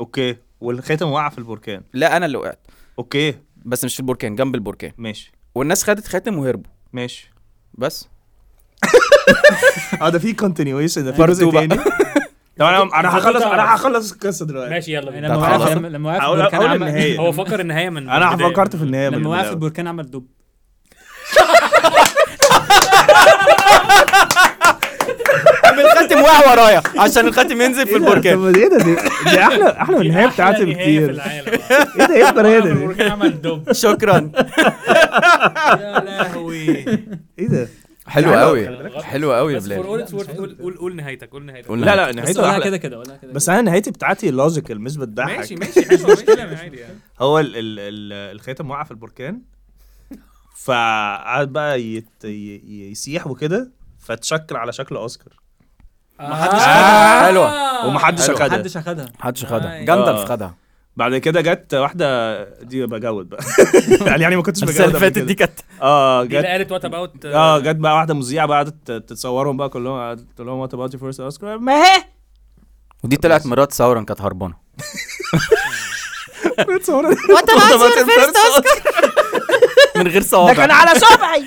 B: اوكي والخاتم وقع في البركان
E: لا انا اللي وقعت
B: اوكي
E: بس مش في البركان جنب البركان
B: ماشي
E: والناس خدت خاتم وهربوا
B: ماشي
E: بس
B: اه ده في كونتينيويشن ده في
E: Part
B: جزء
E: two بقى.
B: تاني طب انا انا هخلص انا
A: تعرف.
B: هخلص القصه دلوقتي
A: ماشي يلا
D: لما
A: بينا
E: خلاص.
D: وقف لما- لما
B: هقول-
D: وقف في
B: هقول
D: البركان
B: النهاية.
D: عمل
A: هو فكر النهايه من
B: انا
A: البداية.
B: فكرت في النهايه
D: لما
B: من
D: وقف في
B: الأول.
D: البركان عمل دب
E: طب الخاتم وقع ورايا عشان الخاتم ينزل في البركان
B: طب ايه ده دي, دي احلى احلى من
A: دي
B: النهايه
A: أحلى
B: بتاعتي
A: نهاية في
B: بكتير
A: العالم.
B: ايه ده ايه البرادة دي
A: البركان عمل دب
E: شكرا
A: يا لهوي
B: ايه ده
E: حلو
A: خلي
E: قوي
A: بالك.
E: حلو قوي يا
A: بس for
E: بلال
A: all it's worth، قول قول قول نهايتك قول نهايتك
E: قول
B: لا لا
D: بس
B: نهايته
D: قولها
B: احلى
D: كده كده قولها كده
B: بس انا نهايتي بتاعتي لوجيكال مش بتضحك
A: ماشي ماشي حلو ماشي عادي يعني
B: هو ال ال ال الخاتم وقع في البركان فقعد بقى يت ي- يسيح وكده فاتشكل على شكل اوسكار
D: محدش
E: آه، حلوة.
B: ومحدش
E: حلو.
B: اخدها
D: محدش اخدها
E: محدش
A: آه.
E: خدها
B: آه.
E: جندلف خدها
B: بعد كده جت واحده دي بجود بقى يعني ما كنتش
E: بس
B: بجود
E: اللي
B: قبل
E: فاتت دي
B: كده
E: كانت
B: اه
A: دي اللي
B: جت
A: قالت آه، وات اباوت
B: اه جت بقى واحده مذيعه بقى قعدت تتصورهم بقى كلهم قعدت تقول لهم وات اباوت يور فيرست اوسكار ما هي
E: ودي طلعت مرات ثورا كانت هربانه
B: متصوره وات اباوت يور فيرست اوسكار
E: من غير صوابع
B: على صبعي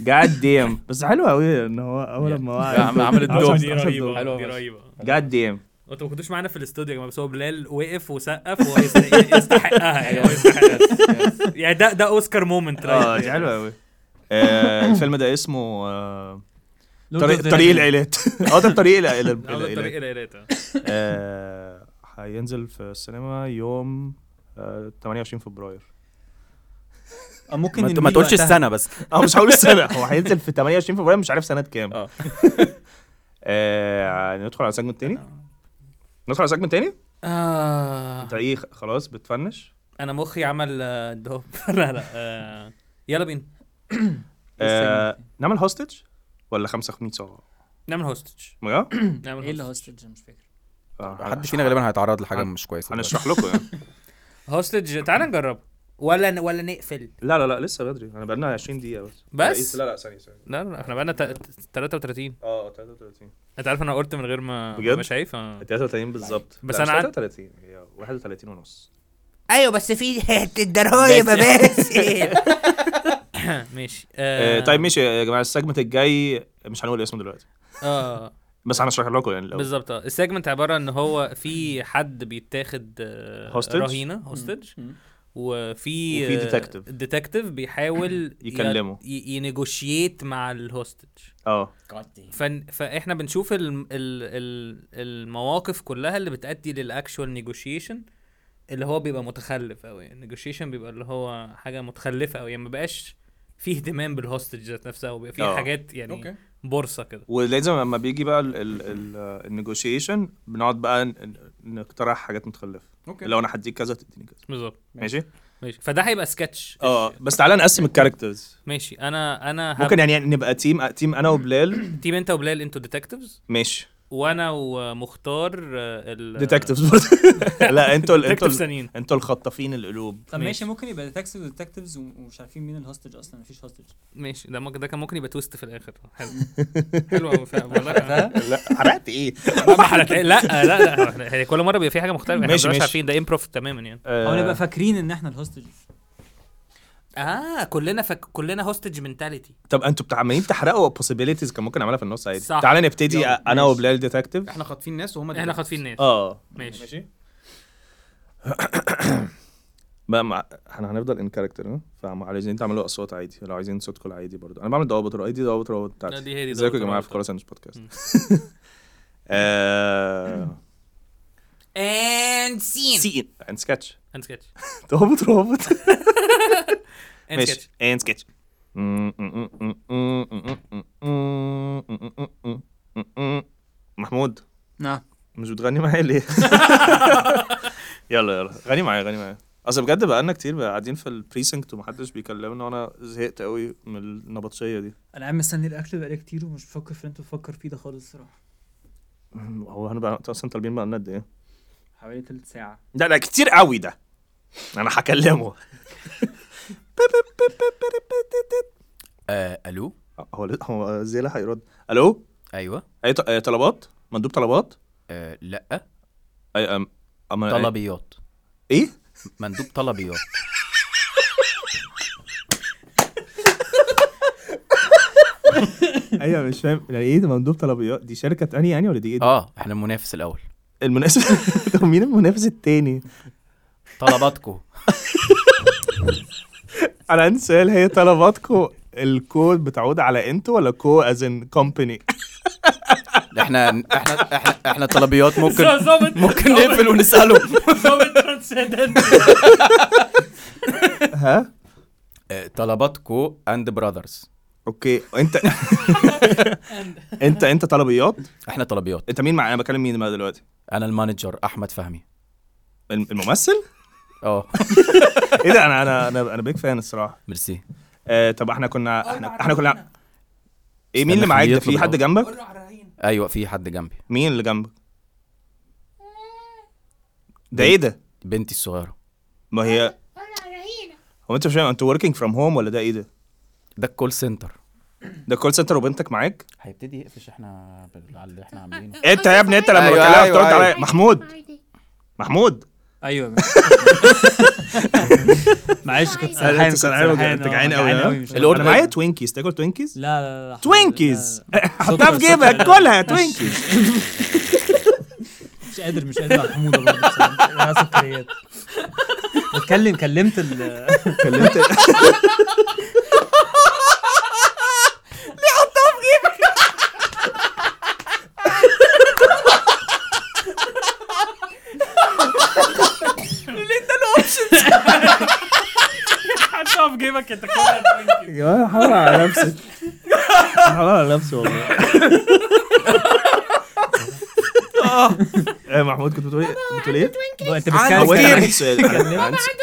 B: جاد ديم بس حلو قوي ان هو اول ما وقع
E: عم- عمل الدوب.
A: دي رهيبه دي رهيبه
B: جاد ديم
A: انتوا ما كنتوش معانا في الاستوديو يا جماعه بس هو بلال وقف وسقف وهو يست- يستحقها يعني هو يستحقها يعني ده
B: آه، يعني
A: ده اوسكار مومنت
B: اه دي حلوه قوي الفيلم ده اسمه آه، طريق طريق العيلات اه ده طريق العيلات
A: طريق
B: العيلات.
A: العيلات آه.
B: آه، هينزل في السينما يوم آه، 28 فبراير
D: آه، ممكن
E: ما, ت- ما
D: ننهيه
E: تقولش
D: وقتها.
E: السنه بس
B: اه مش هقول السنه هو هينزل في 28 فبراير مش عارف سنه كام
E: اه.
B: اه ندخل على سجمنت تاني ندخل على سجمنت تاني
A: آه
B: انت ايه خ- خلاص بتفنش
A: أنا مخي عمل آه، دهب لا لا آه، يلا بينا
B: آه، نعمل هوستج ولا 5 5 صغار
A: نعمل هوستج
B: بجد؟
A: نعمل
F: ايه اللي
A: هوستج.
F: هوستج مش فاكر
B: آه،
E: حد فينا غالبا هيتعرض لحاجه مش كويسه دلوقتي.
B: هنشرح لكم يعني
A: هوستج تعال نجربه
C: ولا ولا نقفل
B: لا لا لا لسه بدري انا بقالنا 20 دقيقه بس
A: بس؟
B: لا لا ثانيه ثانيه
A: لا لا احنا بقالنا تا- 33
B: اه 33
A: انت عارف انا قلت من غير ما
B: بجد؟
A: ما شايف آه.
B: 33 بالظبط
A: بس
B: لا، مش
A: أنا عن-
B: 33 هي 31 ونص
C: ايوه بس في حته ضرايب
A: بس.
C: بس
A: ماشي
B: آه، طيب ماشي يا جماعه السجمنت الجاي مش هنقول اسمه دلوقتي
A: اه
B: بس هنشرح لكم يعني الأول.
A: بالظبط اه السيجمنت عباره ان هو في حد بيتاخد آه،
B: Hostage؟
A: رهينه هوستج وفي
B: وفي detective.
A: ديتكتيف بيحاول
B: يكلمه.
A: ينيجوشيت مع الهوستج
B: اه
A: فن... فاحنا بنشوف ال... ال... ال... المواقف كلها اللي بتأدي للاكشوال نيجوشيشن اللي هو بيبقى متخلف قوي النيجوشيشن بيبقى اللي هو حاجه متخلفه قوي يعني ما بقاش فيه اهتمام بالهوستج ذات نفسها وبيبقى فيه
B: آه.
A: حاجات يعني
E: أوكي.
A: بورصه كده
B: ولازم لما بيجي بقى النيجوشيشن بنقعد بقى ن- ن- نقترح حاجات متخلفه
E: اوكي
B: لو انا هديك كذا تديني كذا
A: بالظبط
B: ماشي
A: ماشي فده هيبقى سكتش
B: اه بس تعالى نقسم الكاركترز
A: ماشي انا انا هب-
B: ممكن يعني نبقى تيم تيم انا وبلال
A: تيم انت وبلال انتوا ديتكتيفز
B: ماشي
A: وانا ومختار آه، ال
B: ديتكتيفز لا انتوا ال- انتوا
A: ديتكتيفز
B: ال-
A: ثانيين
B: انتوا الخطافين القلوب
F: طب
A: ماشي.
F: ماشي ممكن يبقى ديتكتيفز وديتكتيفز ومش عارفين مين الهوستج اصلا مفيش هوستج
A: ماشي ده ممكن ده كان ممكن يبقى تويست في الاخر حلو حلو قوي فعلا والله كان-
B: لا حرقت ايه
A: ما حرك لا لا لا هي كل مره بيبقى في حاجه مختلفه احنا
B: ماشي،
A: مش
B: ماشي.
A: عارفين ده امبروف تماما يعني
F: او
B: آه،
F: نبقى فاكرين ان احنا الهوستج
C: اه كلنا فك... كلنا هوستج منتاليتي
B: طب انتوا بتاع- عمالين تحرقوا possibilities كان ممكن اعملها في النص عادي
A: صح.
B: تعالى نبتدي
E: يلا،
B: انا
E: ماشي.
B: وبلال ديتكتيف
E: احنا خاطفين ناس وهم
A: احنا خاطفين ناس
B: اه
A: ماشي
B: بقى مع... احنا هنفضل ان كاركتر فعايزين تعملوا اصوات عادي لو عايزين صوتكم العادي برضه انا بعمل ضوابط رؤية دي ضوابط رؤية
A: لا،
B: بتاعتي
A: دي هي دي
B: ازيكم يا
A: ضوابط
B: جماعه
A: رؤية
B: في كوره ساندويتش بودكاست آه،
C: اند سين
B: سين اند سكتش
A: اند سكتش
B: ضوابط رؤية
A: اند سكتش
B: اند سكتش محمود
F: نعم
B: مش بتغني معايا ليه؟ يلا يلا غني معايا غني معايا اصل بجد بقالنا كتير بقى قاعدين في البريسنكت ومحدش بيكلمنا وانا زهقت قوي من النبطشيه دي
F: انا قاعد مستني الاكل بقالي كتير ومش بفكر في اللي انت بتفكر فيه ده خالص الصراحه
B: هو انا بقى أنتوا اصلا طالبين بقى لنا قد ايه؟
F: حوالي تلت ساعه
B: ده ده كتير قوي ده انا هكلمه
E: آه، الو
B: هو هو زيلا هيرد الو
E: ايوه
B: اي ط- أي طلبات مندوب طلبات
E: آه، لا
B: اي أم
E: إيه؟
B: أما
E: طلبيات
B: ايه
E: مندوب طلبيات
B: ايوه مش فاهم يعني ايه ده مندوب طلبيات دي شركه تانية يعني ولا دي ايه
E: اه احنا المنافس الاول
B: المنافس طب مين المنافس التاني
E: طلباتكو
B: انا عندي سؤال هي طلباتكو الكو بتعود على انتوا ولا كو از ان كومباني
E: احنا احنا احنا احنا طلبيات ممكن
A: ظابط
E: ممكن نقفل ونساله
A: ظابط ترانسندنت
B: ها
E: آه، طلباتكو اند براذرز
B: اوكي انت انت انت طلبيات
E: احنا طلبيات
B: انت مين مع انا بكلم مين بقى دلوقتي
E: انا المانجر احمد فهمي
B: الم- الممثل
E: اه
B: ايه ده انا انا انا انا بيك فان الصراحه
E: ميرسي
B: آه طب احنا كنا احنا احنا كنا ايه مين اللي
E: استنى،
B: معاك ده
E: خليه
B: في
E: يطلب
B: حد جنبك
E: ايوه في حد جنبي
B: مين اللي جنبك ده ايه ده
E: بنتي الصغيره
B: ما هي هو انت مش فاهم انت وركينج فروم هوم ولا ده ايه ده
E: ده الكول سنتر
B: ده كول سنتر وبنتك معاك
E: هيبتدي يقفش احنا على اللي احنا عاملينه
B: انت يا ابني انت لما
E: أيوة،
B: بكلمك
E: أيوة،
B: ترد
E: أيوة.
B: عليا محمود محمود
F: ايوه
D: أيوة. معلش كنت
B: أنا
D: سرحان
B: كنت سرحان وجع-
D: آه،
B: انت جعان قوي ها؟
D: مش
E: الأوردر-
B: انا معايا توينكيز تاكل توينكيز
F: لا لا لا
B: توينكيز حطها
F: سكر،
B: في جيبك
F: سكر.
B: كلها توينكيز
F: مش قادر مش قادر على حموده برضه بصراحة. لا سكريات
D: بتكلم كلمت ال
B: كلمت
C: كلامك انت كده
B: يا جماعه حرام على نفسك حرام على نفسي والله ايه محمود كنت بتقول ايه؟ بتقول ايه؟
D: انت
B: هو أنا
D: بتتكلم
B: عندي سؤال أنا عندي- عندي سؤال.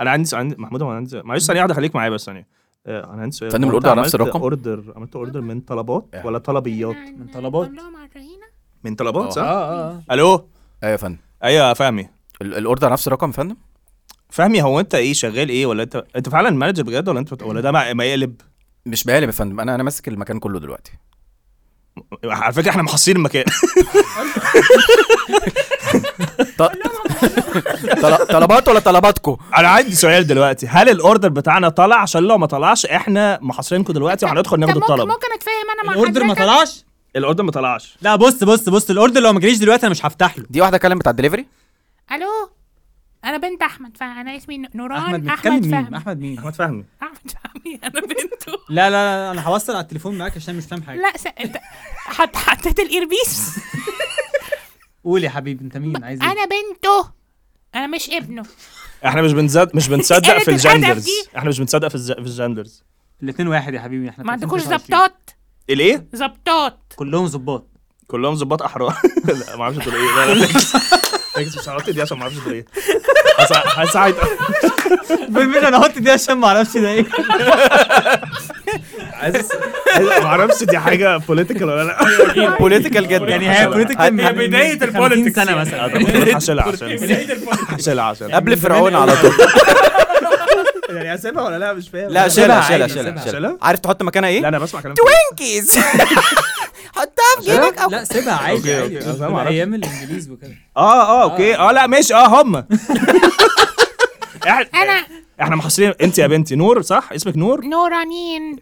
B: انا عندي سؤال- عندي محمود هو انا عندي سؤال. معلش ثانيه واحده خليك معايا بس ثانيه آه، انا عندي سؤال
E: فندم،
B: هو أنت
E: الأوردر على
B: عملت
E: نفس الرقم؟ إيه.
B: اوردر عملت اوردر من طلبات ولا طلبيات؟
G: من
D: طلبات.
G: يعني لهم على الرهينه
B: من طلبات صح؟
D: اه
B: الو
E: ايوه يا فندم
B: ايوه يا فهمي
E: ال- الاوردر نفس الرقم يا فندم
B: فهمي هو انت ايه شغال ايه ولا انت انت فعلا مانجر بجد ولا انت بت- ولا ده ما ما يقلب
E: مش بقالب يا فندم انا انا ماسك المكان كله دلوقتي
B: على فكره احنا محصين المكان
E: ط- طل- طلبات ولا طلباتكو
B: انا عندي سؤال دلوقتي هل الاوردر بتاعنا طلع عشان لو ما طلعش احنا محاصرينكم دلوقتي وهندخل ناخد
G: طب ممكن
B: الطلب
G: ممكن اتفاهم انا مع
D: الاوردر ما
G: حضرتك؟
D: طلعش
B: الاوردر ما طلعش
D: لا بص بص بص الاوردر لو ما جاليش دلوقتي انا مش هفتح له
E: دي واحده كلمت على الدليفري
G: الو انا بنت احمد فانا اسمي
D: احمد
G: نوران
D: بيتكلم
G: احمد
D: مين
G: فهمي
D: احمد مين
B: احمد فهمي
G: احمد فهمي انا بنته
D: لا لا لا انا هوصل على التليفون معاك عشان مش فاهم حاجه
G: لا س... انت حط حطيت الايربيس
D: قول يا حبيبي انت مين عايز ايه
G: انا بنته انا مش ابنه
B: احنا مش بنزد مش بنصدق
G: قلة
B: في
G: الأدب
B: الجندرز
G: دي.
B: احنا مش بنصدق في, الز... في الجندرز
D: الاتنين واحد يا حبيبي احنا
G: ما عندكوش
D: 23.
G: ظبطات
B: الايه
G: ظبطات
D: كلهم ظباط
B: كلهم ظباط احرار لا ما اعرفش دول ايه لا لا فاكس. فاكس مش هحط دي عشان ما اعرفش دول ايه هسع- هساعد
D: بالمين انا احط دي عشان ما اعرفش ده
B: إيه.
D: ايه
B: عايز- ما اعرفش دي حاجه بوليتيكال ولا لا
E: بوليتيكال جدا
D: يعني هي بوليتيكال
C: هي بداية البوليتكس
D: سنه
C: يعني.
D: مثلا
B: هشيلها عشان هشيلها عشان
E: قبل فرعون على طول
B: يعني هسيبها ولا لا مش فاهم
E: لا
D: شيلها
E: شيلها
D: عادي،
E: شيلها
B: شيلها.
E: شيلها
B: شيلها؟
E: شيلها عارف تحط مكانها
B: لا
E: ايه؟
B: انا بسمع كلام
A: توينكيز حطها في جيبك او
D: لا سيبها عادي
B: أوكي،
D: عادي
B: أوكي. أنا ما أعرفش.
D: ايام الانجليز وكده
B: اه اه اوكي اه لا ماشي اه هم إح-
G: انا
B: احنا محصلين انت يا بنتي نور صح اسمك نور
G: نورانين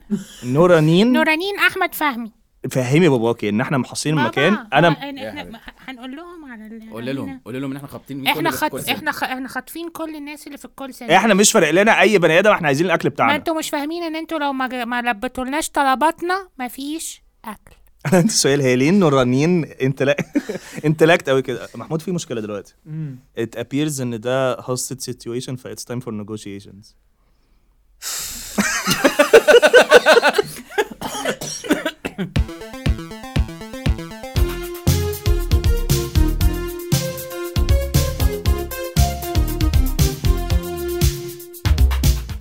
B: نورانين
G: نورانين احمد فهمي
B: فهمي باباكي ان احنا محصلين
G: بابا،
B: المكان
G: آه،
B: انا
G: إن
E: يا
D: يعني.
E: حبيبي.
G: احنا ه- هنقول لهم على ال-
E: قول لهم
G: علينا.
E: قول لهم ان احنا خابطين مين
G: احنا خط احنا خ... احنا خاطفين كل الناس اللي في الكول سنتر
B: احنا مش فارق لنا اي بني ادم احنا عايزين الاكل
G: ما
B: بتاعنا
G: انتوا مش فاهمين ان انتوا لو ما, ج... ما لبتولناش طلباتنا مفيش اكل
B: انا عندي سؤال هي ليه نورانين انتلاك انتلاكت قوي كده محمود في مشكله دلوقتي it appears ان ده hostage situation ف it's time for negotiations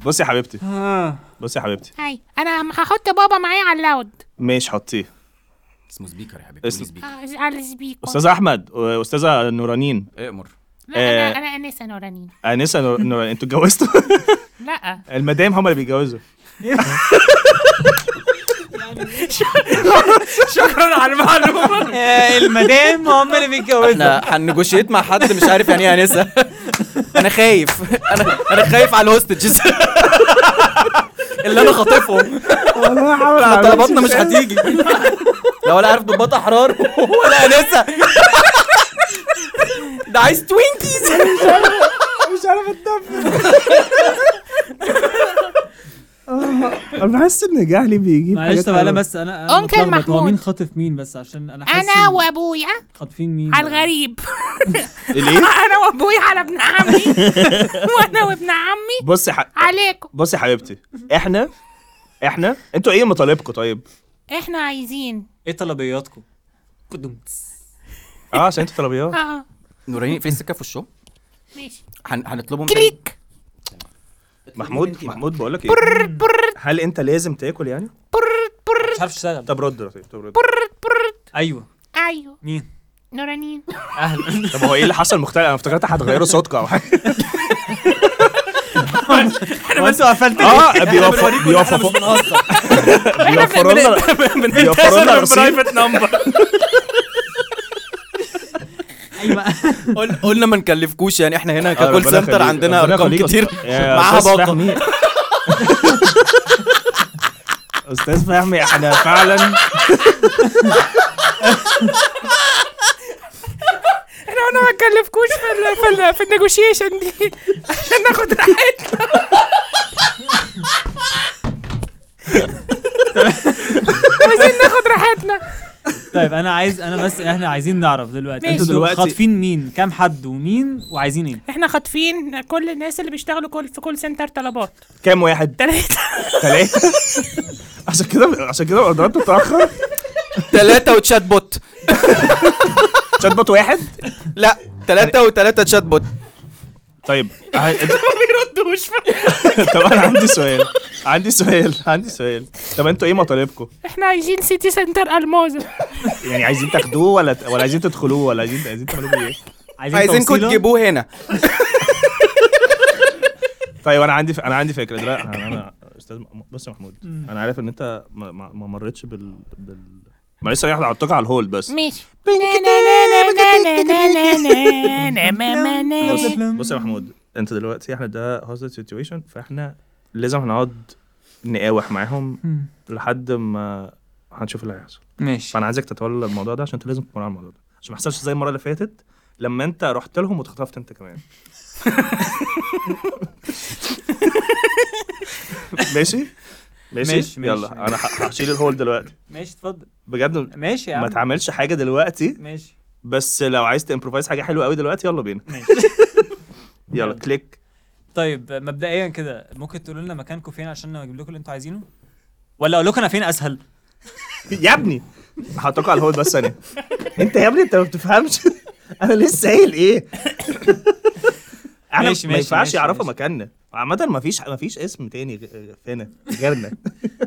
B: بصي يا حبيبتي بصي يا حبيبتي
G: هاي انا م- هحط بابا معايا على اللاود
B: ماشي حطيه
E: اسمه سبيكر يا حبيبي
B: اسم-
E: قولي سبيكر
G: آه، على السبيكر
B: استاذ احمد واستاذه نورانين
E: اامر
G: لا انا
B: آه.
G: انا انسه نورانين
B: انسه نور- نورانين انتوا اتجوزتوا
G: لا
B: المدام هم اللي بيتجوزوا
A: شكرا على المعلومه
D: آه، المدام هم اللي بيتجوزوا
E: احنا هنجوشيت مع حد مش عارف يعني ايه انسه انا خايف انا انا خايف على الهوستجز اللي انا خاطفهم
B: والله حاول
E: احنا طلباتنا مش هتيجي لو انا عارف ضباط احرار ولا انسه ده عايز توينكيز
B: مش عارف اتنفس انا بحس ان جهلي بيجيب
D: معلش طب انا بس انا أنا
G: أنكل
D: متلخبط. هو
G: محمود.
D: مين خاطف مين بس عشان انا حاسس
G: انا
D: إن
G: وابويا
D: خاطفين مين
G: على الغريب
B: ليه؟
G: انا وابويا على ابن عمي وانا وابن عمي
B: بصي ح...
G: عليكم
B: بصي يا حبيبتي احنا احنا انتوا ايه مطالبكم طيب؟
G: احنا عايزين
D: ايه طلبياتكم؟
B: اه عشان انتوا طلبيات
G: اه
E: نوراني في سكه في وشهم
G: ماشي
E: هن- هنطلبهم تاني.
G: كليك
B: محمود محمود بقول لك ايه؟ هل انت لازم تاكل يعني؟
D: مش عارف اشتغل
B: طب رد طيب طب رد
G: برد برد
D: ايوه
G: ايوه
D: مين؟
G: نورانين
D: اهلا
B: طب هو ايه اللي حصل مختلف؟ انا افتكرت هتغيروا صوتكم او حاجه
D: هو انتوا قفلت
B: اه بيوفروا بيوفروا بيوفروا لنا بيوفروا لنا رصيد
A: برايفت نمبر
E: قل- قلنا ما نكلفكوش يعني احنا
B: آه،
E: هنا ككول
B: ربنا
E: سنتر
B: يخليك-
E: عندنا
B: ربنا
E: ارقام
B: يخليك يا
E: كتير
B: أستاذ- يا
E: معاها
B: أستاذ
E: باقه
B: فهمي. استاذ فهمي احنا فعلا
A: احنا قلنا ما نكلفكوش في ال في ال في النيجوشيشن دي عشان ناخد راحتنا عايزين ناخد راحتنا
D: طيب انا عايز انا بس احنا عايزين نعرف دلوقتي
G: ماشي.
D: انتوا دلوقتي
B: دلوقتي-
D: خاطفين مين كام حد ومين وعايزين ايه
G: احنا خاطفين كل الناس اللي بيشتغلوا كل في كول سنتر طلبات
B: كام واحد؟
G: تلاتة
B: ثلاثة عشان كده عشان كده الاوردرات بتتأخر
E: ثلاثة وتشات بوت
B: شات بوت واحد
E: لا ثلاثة وثلاثة تشات بوت
B: طيب ما بيردوش طب انا عندي سؤال عندي سؤال عندي سؤال طب انتوا ايه مطالبكم؟
G: احنا عايزين سيتي سنتر الماظة
B: يعني عايزين تاخدوه ولا ولا عايزين تدخلوه ولا عايزين عايزين تعملوا بيه ايه؟
E: عايزينكم
D: توصيلة؟
E: تجيبوه هنا
B: طيب انا عندي ف... انا عندي فكره دلوقتي انا انا استاذ م- بص يا محمود انا عارف ان انت ما, ما ما مرتش بال بال ما لسه واحد على على الهولد بس
G: ماشي
B: بص بص يا محمود انت دلوقتي احنا ده هوستج سيتويشن فاحنا لازم هنقعد نقاوح معاهم
D: مم.
B: لحد ما هنشوف اللي هيحصل
D: ماشي
B: فانا عايزك تتولى الموضوع ده عشان انت لازم تكون على الموضوع ده عشان ما يحصلش زي المره اللي فاتت لما انت رحت لهم واتخطفت انت كمان ماشي ماشي
D: ماشي، ماشي.
B: يلا انا ه- هشيل الهول دلوقتي
D: ماشي اتفضل
B: بجد
D: ماشي يا
B: ما
D: عم
B: تعملش حاجه دلوقتي
D: ماشي
B: بس لو عايز تمبروفايز حاجه حلوه قوي دلوقتي يلا بينا
D: ماشي
B: يلا كليك
D: طيب مبدئيا كده ممكن تقولوا لنا مكانكم فين عشان اجيب لكم اللي انتوا عايزينه ولا اقول لكم انا فين اسهل
B: يا ابني هحطك على الهولد بس ثانيه انت يا ابني انت ما بتفهمش انا لسه قايل ايه احنا
D: ماشي،
B: ما
D: ماشي،
B: ينفعش
D: ماشي،
B: يعرفوا
D: ماشي.
B: مكاننا عامة ما فيش ما فيش اسم تاني غ- فينا غيرنا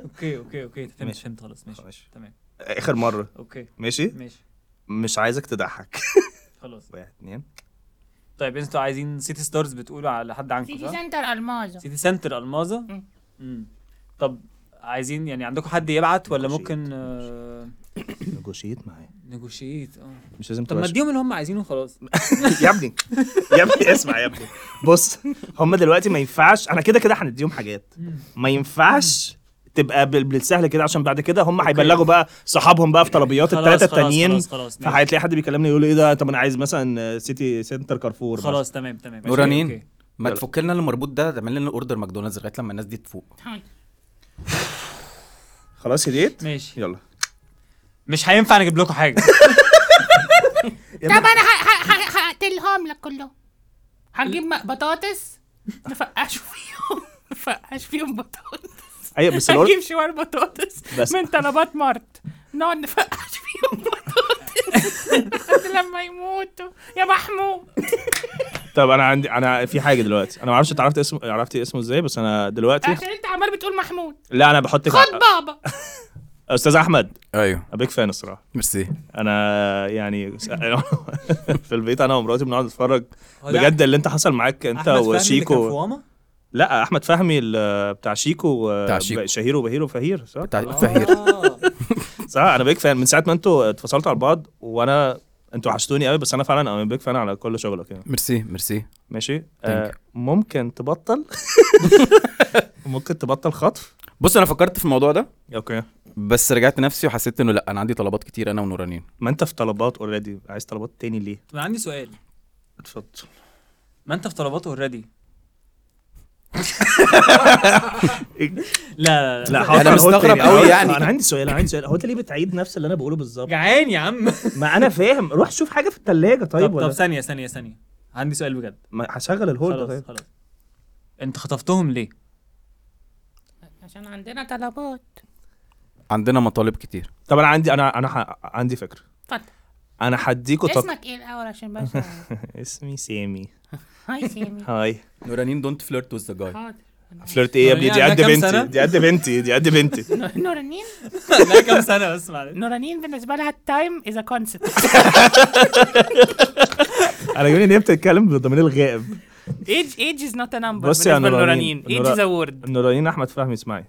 D: اوكي اوكي اوكي فهمت
B: ماشي.
D: فهمت خلاص ماشي
B: ماشي.
D: تمام
B: اخر مرة
D: اوكي
B: ماشي
D: ماشي
B: مش عايزك تضحك
D: خلاص
B: واحد اتنين
D: طيب انتوا عايزين سيتي ستارز بتقولوا على حد عنكم
G: سيتي
D: صح؟
G: سنتر الماظة
D: سيتي سنتر الماظه
G: مم.
D: مم. طب عايزين يعني عندكم حد يبعت ولا
B: نيجوشيت،
D: ممكن آه،
B: نجوشيت معايا
D: نيجوشيت اه
B: مش لازم
D: طب ما
B: تبقاش-
D: اديهم اللي هم عايزينه خلاص
B: يا ابني يا ابني اسمع يا ابني بص هم دلوقتي ما ينفعش انا كده كده هنديهم حاجات ما ينفعش تبقى بال- بالسهل كده عشان بعد كده هم هيبلغوا بقى صحابهم بقى في طلبيات الثلاثه التانيين
D: خلاص خلاص ماشي.
B: فهتلاقي حد بيكلمني يقول لي ايه ده طب انا عايز مثلا سيتي سنتر كارفور مثلا.
D: خلاص تمام تمام ماشي،
E: نورانين.
D: أوكي.
E: ما
B: يلا.
E: تفك لنا المربوط ده تعمل لنا اوردر ماكدونالدز لغايه لما الناس دي تفوق
B: خلاص هديت
D: ماشي
B: يلا
D: مش هينفع نجيب لكم حاجه
G: طب انا ه- ه- ه- هقتلهم لك كلهم هنجيب م- بطاطس نفقعش فيهم نفقعش فيهم بطاطس
B: ايوه بس الأور-
G: هنجيب شوار بطاطس
B: بس
G: من طلبات مارت نقعد نفقعش فيهم بطاطس لحد لما يموتوا يا محمود
B: طب انا عندي انا في حاجه دلوقتي انا ما اعرفش انت عرفت اسمه عرفتي اسمه ازاي بس انا دلوقتي
G: عشان انت عمال بتقول محمود
B: لا انا بحطك
G: خد بابا
B: استاذ احمد
E: ايوه
B: ابيك فان الصراحه
E: ميرسي
B: انا يعني س- في البيت انا ومراتي بنقعد نتفرج
D: هو ده
B: بجد اللي انت حصل معاك
D: أحمد
B: انت
D: فهمي اللي كان في
B: وشيكو
D: واما؟
B: لا احمد فهمي ال- بتاع شيكو و-
E: بتاع شيكو.
B: شهير وبهير وفهير صح
E: بتاع
D: آه.
E: فهير
B: صح انا بيك فان من ساعه ما انتوا اتفصلتوا على بعض وانا انتوا وحشتوني قوي بس انا فعلا انا بيك فان على كل شغلك يعني
E: ميرسي ميرسي
B: ماشي آه ممكن تبطل ممكن تبطل خطف
E: بص انا فكرت في الموضوع ده
B: اوكي
E: بس رجعت نفسي وحسيت انه لا انا عندي طلبات كتير انا ونورانين
B: ما انت في طلبات اوريدي عايز طلبات تاني ليه
D: طب أنا عندي سؤال
B: اتفضل
D: ما انت في طلبات اوريدي لا لا لا
B: لا
E: أنا
B: هقعد- هقعد
E: مستغرب
B: تاني.
E: قوي
B: هقعد-
E: يعني.
B: انا عندي سؤال انا عندي سؤال هو انت ليه بتعيد نفس اللي انا بقوله بالظبط
D: جعان يا عم
B: ما انا فاهم روح شوف حاجه في الثلاجه طيب
D: طب طب
B: ولا
D: ثانيه ثانيه ثانيه عندي سؤال بجد
B: ما هشغل الهول ده
D: خلاص
B: طيب
D: خلاص انت خطفتهم ليه؟
G: عشان عندنا طلبات
E: عندنا مطالب كتير
B: طب انا عندي انا انا ح... عندي فكره
G: اتفضل
B: انا هديكوا تط...
G: اسمك ايه الاول عشان بس أعرف.
B: اسمي سامي
G: هاي سامي
B: هاي
E: نورانين دونت فليرت وذ ذا جاي
G: حاضر
B: فلرت ايه يا ابني دي
D: عندها
B: قد
D: كام
B: بنتي
D: سنة؟
B: دي قد بنتي دي قد بنتي
G: نورانين
D: لا كام سنه بس معلش
G: نورانين بالنسبه لها التايم از ا كونسبت
B: انا جاي ان هي بتتكلم بضمير الغائب
G: ايج ايج از نوت ا نمبر
B: بص يا
A: بالنسبة
B: نورانين
A: لنورانين ايج از وورد
B: نورانين احمد فهمي اسمعي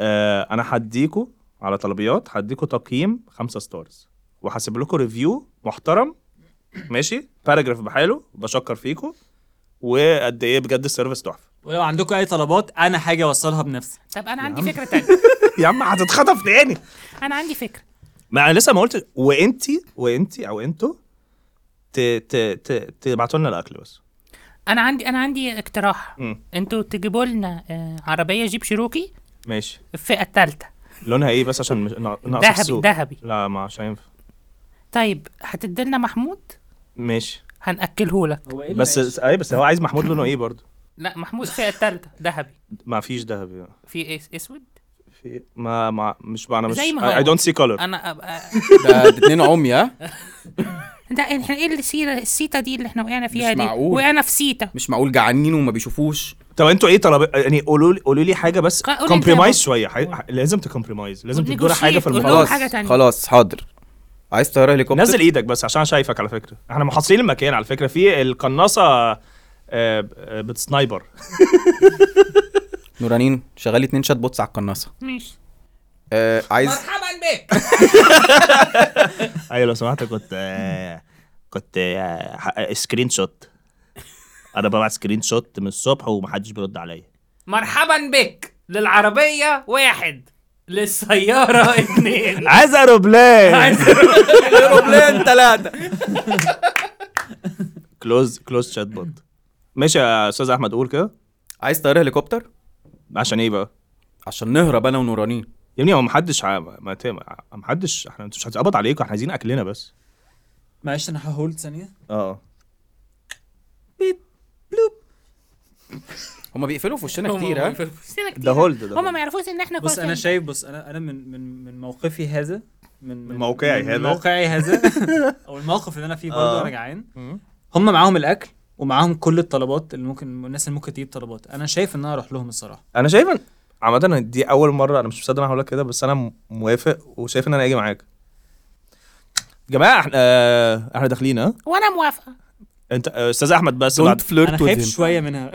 B: آه انا هديكوا على طلبيات هديكوا تقييم خمسة ستارز وهسيب لكم ريفيو محترم ماشي باراجراف بحاله بشكر فيكوا وقد ايه بجد السيرفيس تحفه
D: ولو عندكم اي طلبات انا حاجه اوصلها بنفسي
G: طب انا عندي فكره تانية
B: يا عم هتتخطف تاني
G: انا عندي فكره
B: ما انا لسه ما قلت وانتي وانتي او انتوا ت- ت- ت- تبعتوا لنا الاكل بس
G: انا عندي انا عندي اقتراح
B: مم.
G: eh, انتوا تجيبوا لنا آه، عربيه جيب شيروكي
B: ماشي
G: الفئه الثالثه
B: لونها ايه بس عشان مش- نع- نعرف
G: ذهبي
B: السوق
G: ذهبي
B: لا ما عشان ينفع
G: طيب هتديلنا محمود
B: ماشي
G: هنأكله لك
D: هو ايه
B: بس
D: اللي-
B: اي بس هو عايز محمود لونه ايه برضه
G: لا محمود فئة التالتة ذهبي
B: ما فيش ذهبي
G: في ايه اسود
B: في ما ما مش انا مش
G: زي ما
B: اي
G: هو.
B: دونت سي كولر
G: انا أبقى...
E: ده اتنين عمي ها
G: ده احنا ايه اللي سيرة السيتا دي اللي احنا وقعنا فيها
E: مش
G: دي
E: معقول.
G: وقعنا في سيتا
E: مش معقول جعانين وما بيشوفوش
B: طب انتوا ايه طلب يعني قولوا لي قولوا لي حاجه بس
G: قولي أنت يا
B: كومبريمايز
G: بابا.
B: شويه ح... ح- لازم تكومبريمايز لازم
G: ونيجوشيت،
B: تدور حاجه في
G: قول لهم
B: الموضوع
G: حاجة تانية.
E: خلاص حاضر عايز طياره هليكوبتر
B: نزل ايدك بس عشان شايفك على فكره احنا محاصرين المكان على فكره في القناصه آه، آه، بتسنايبر
E: نورانين شغالي اتنين شات بوتس على القناصه
G: ماشي
E: آه عايز
C: مرحبا بك
B: ايوه لو سمحت كنت آه، كنت آه، ح- سكرين شوت انا ببعت سكرين شوت من الصبح ومحدش بيرد عليا
C: مرحبا بك للعربية واحد للسيارة اتنين
B: عايز اروبلان
E: ايروبلان ثلاثه
B: كلوز كلوز شات بوت ماشي يا استاذ احمد قول كده
E: عايز طياره هليكوبتر
B: عشان ايه بقى
E: عشان نهرب انا ونورانين
B: يا ابني هو محدش ع- ما ت- ما- محدش احنا مش هتقبض عليكم احنا عايزين اكلنا بس
F: معلش انا ههولد ثانيه
B: اه
E: هما بيقفلوا في وشنا كتير ها
G: سينا كتير
B: ده هولد ده
G: هما ما يعرفوش ان احنا
F: بص
G: كل-
F: انا شايف بص انا انا من من من موقفي هذا من من-
B: موقعي
F: من-
B: هذا.
F: من موقعي هذا او الموقف اللي انا فيه برضه
B: آه.
F: انا جعان
B: مم.
F: هم معاهم الاكل ومعاهم كل الطلبات اللي ممكن الناس اللي ممكن تجيب طلبات انا شايف ان انا اروح لهم الصراحه
B: انا شايف إن- عامة أنا دي أول مرة أنا مش مصدق إن أنا هقول لك كده بس أنا م- موافق وشايف إن أنا هاجي معاك. جماعة إحنا آه، إحنا داخلين ها؟
G: وانا موافقه
B: أنت آه، أستاذ أحمد بس
E: دونت
B: بعد
F: انا
E: فليرت
F: خايف
E: وذ
F: شويه منها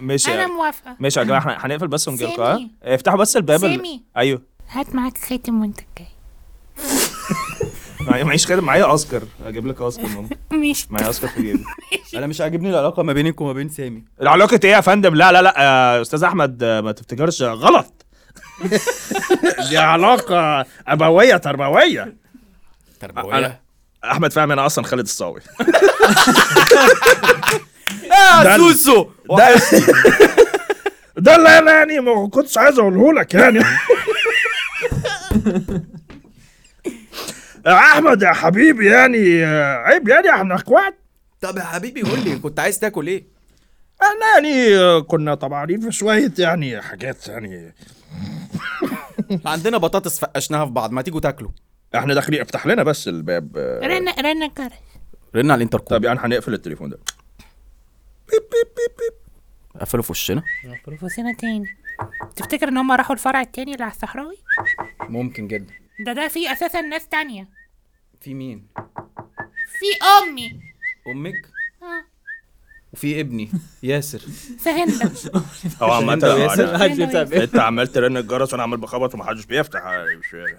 B: ماشي
G: انا موافقه
B: ماشي يا جماعة إحنا هنقفل بس ونجي لكم ها؟
G: سامي.
B: آه، افتحوا بس الباب ال-
G: سامي.
B: أيوه
G: هات معاك خاتم وانت جاي
B: معي- معيش خادم معايا أوسكار أجيب لك أوسكار ممكن
G: ماشي
B: معايا أوسكار في جيبي.
E: انا مش عاجبني العلاقه ما بينك وما بين سامي
B: العلاقة إيه يا فندم؟ لا لا لا آه، أستاذ أحمد آه، ما تفتكرش غلط. دي علاقة أبوية تربوية.
E: تربويه
B: أحمد فهمي أنا أصلا خالد الصاوي.
E: يا
B: ده-
E: سوسو
B: ده آه، ده اللي انا يعني ما كنتش عايز اقوله لك يعني يا احمد آه، يا حبيبي يعني آه، عيب يعني احنا اخوات
E: طب يا حبيبي قول لي كنت عايز تاكل ايه
B: احنا يعني آه، كنا طبعا في شويه يعني حاجات يعني
E: عندنا بطاطس فقشناها في بعض ما تيجوا تاكلوا
B: احنا داخلين افتح لنا بس الباب آه.
G: رنا رنا كرش
E: رن على الانتركوم
B: طب يعني هنقفل التليفون ده
E: قفلوا في وشنا
G: بروفوسينا تاني تفتكر ان هما راحوا الفرع التاني اللي على الصحراوي
E: ممكن جدا
G: ده ده في اساسا ناس تانية
E: في مين
G: في امي
E: امك
G: اه
E: وفي ابني ياسر
G: سهلنا
B: اه عم
E: أنت وياسر؟
G: محدش
F: طيب،
G: بيفتح
B: انت عمال ترن الجرس وانا عمال بخبط ومحدش بيفتح
C: ماما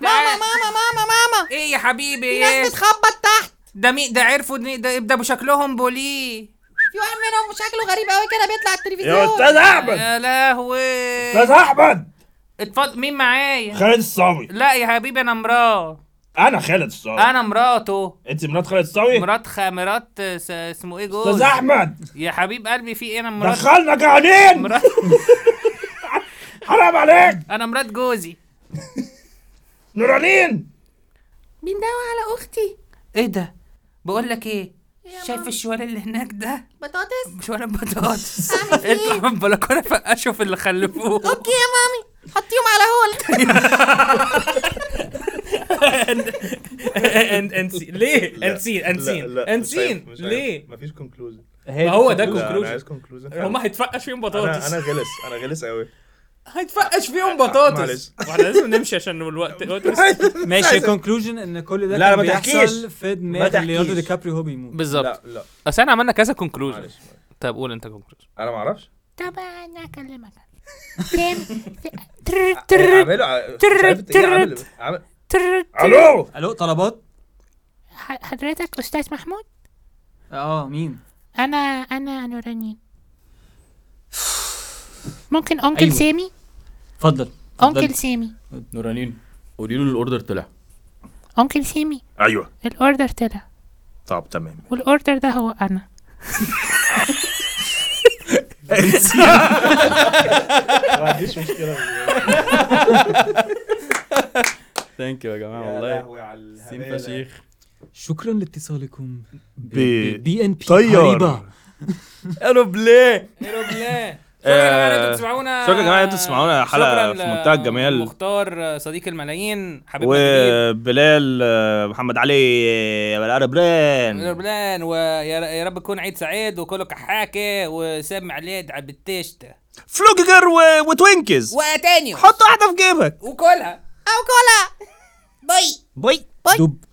G: ماما ماما ماما
C: ايه يا حبيبي ايه
G: بتخبط تحت
C: ده مين ده عرفوا إن ده ده بشكلهم بوليه
G: في واحد منهم شكله غريب قوي كده بيطلع التلفزيون
B: يا استاذ احمد
C: يا لهوي
B: استاذ احمد
C: اتفضل مين معايا
B: خالد الصاوي
C: لا يا حبيبي انا مراه
B: انا خالد الصاوي
C: انا مراته
B: انت مرات خالد الصاوي
C: مرات خ... مرات س... اسمه ايه جوز
B: استاذ احمد
C: يا حبيب قلبي في ايه انا مرات
B: دخلنا جعانين
C: مرات
B: حرام عليك
C: انا مرات جوزي
B: نورانين
G: مين ده على اختي
C: ايه ده بقول لك ايه شايف الشوال اللي هناك ده
G: بطاطس
C: مش ولا بطاطس إيه؟
A: إيه؟
G: إيه؟
C: اطلع من البلكونه فقشوا في اللي خلفوه
G: اوكي يا مامي حطيهم على هول
C: انسين ليه انسين انسين انسين ليه
B: مفيش كونكلوجن
C: ما هو ده
B: انا
C: كونكلوجن
B: عايز كونكلوجن
C: هما هيتفقش فيهم بطاطس
B: غلس انا غلس قوي
C: هيتفقش فيهم
B: معلش.
C: بطاطس واحنا لازم نمشي عشان الوقت الوقت لسه-
D: ماشي كونكلوجن ان كل ده
B: لا،
D: كان
B: ما تحكيش.
D: بيحصل في
B: ما
D: دماغ
B: تحكيش.
D: ليوناردو دي كابري وهو بيموت
A: بالظبط
B: لا
A: اصل احنا عملنا كذا كونكلوجن
B: معلش
A: طب قول انت كونكلوجن
B: انا ما اعرفش
G: طب انا اكلمك سام تر تر
B: اعمله
G: ترت، ترت. تر
B: الو
D: الو طلبات
G: ح- حضرتك استاذ محمود
F: اه مين
G: انا انا نورانين ممكن انكل
F: أيوة.
G: سامي
F: اتفضل
G: انكل سامي
E: نورانين قولي له الاوردر طلع
G: انكل سامي
B: ايوه
G: الاوردر طلع
B: طب تمام
G: والاوردر ده هو انا
H: ما عنديش مشكله
E: ثانك يو يا جماعه والله سين فشيخ
D: شكرا لاتصالكم
H: ب-
D: بي ان بي
H: طيار.
D: قريبة.
E: الو بلاي
A: شكرا يا جماعه إن
B: آه،
A: انتوا بتسمعونا
B: شكرا يا جماعه إن انتوا بتسمعونا حلقه
A: شكراً
B: في منتهى الجمال
A: مختار صديق الملايين حبيبنا الجديد
B: وبلال آه، محمد علي آه، والاربلان
A: نوربلان ويا يا رب يكون عيد سعيد وكله كحاكي وسام عليد عبتشتا
B: فلوجر و- وتوينكز
A: واتانيو
B: حط واحده في جيبك
A: وكلها او كلها باي
B: باي
D: دب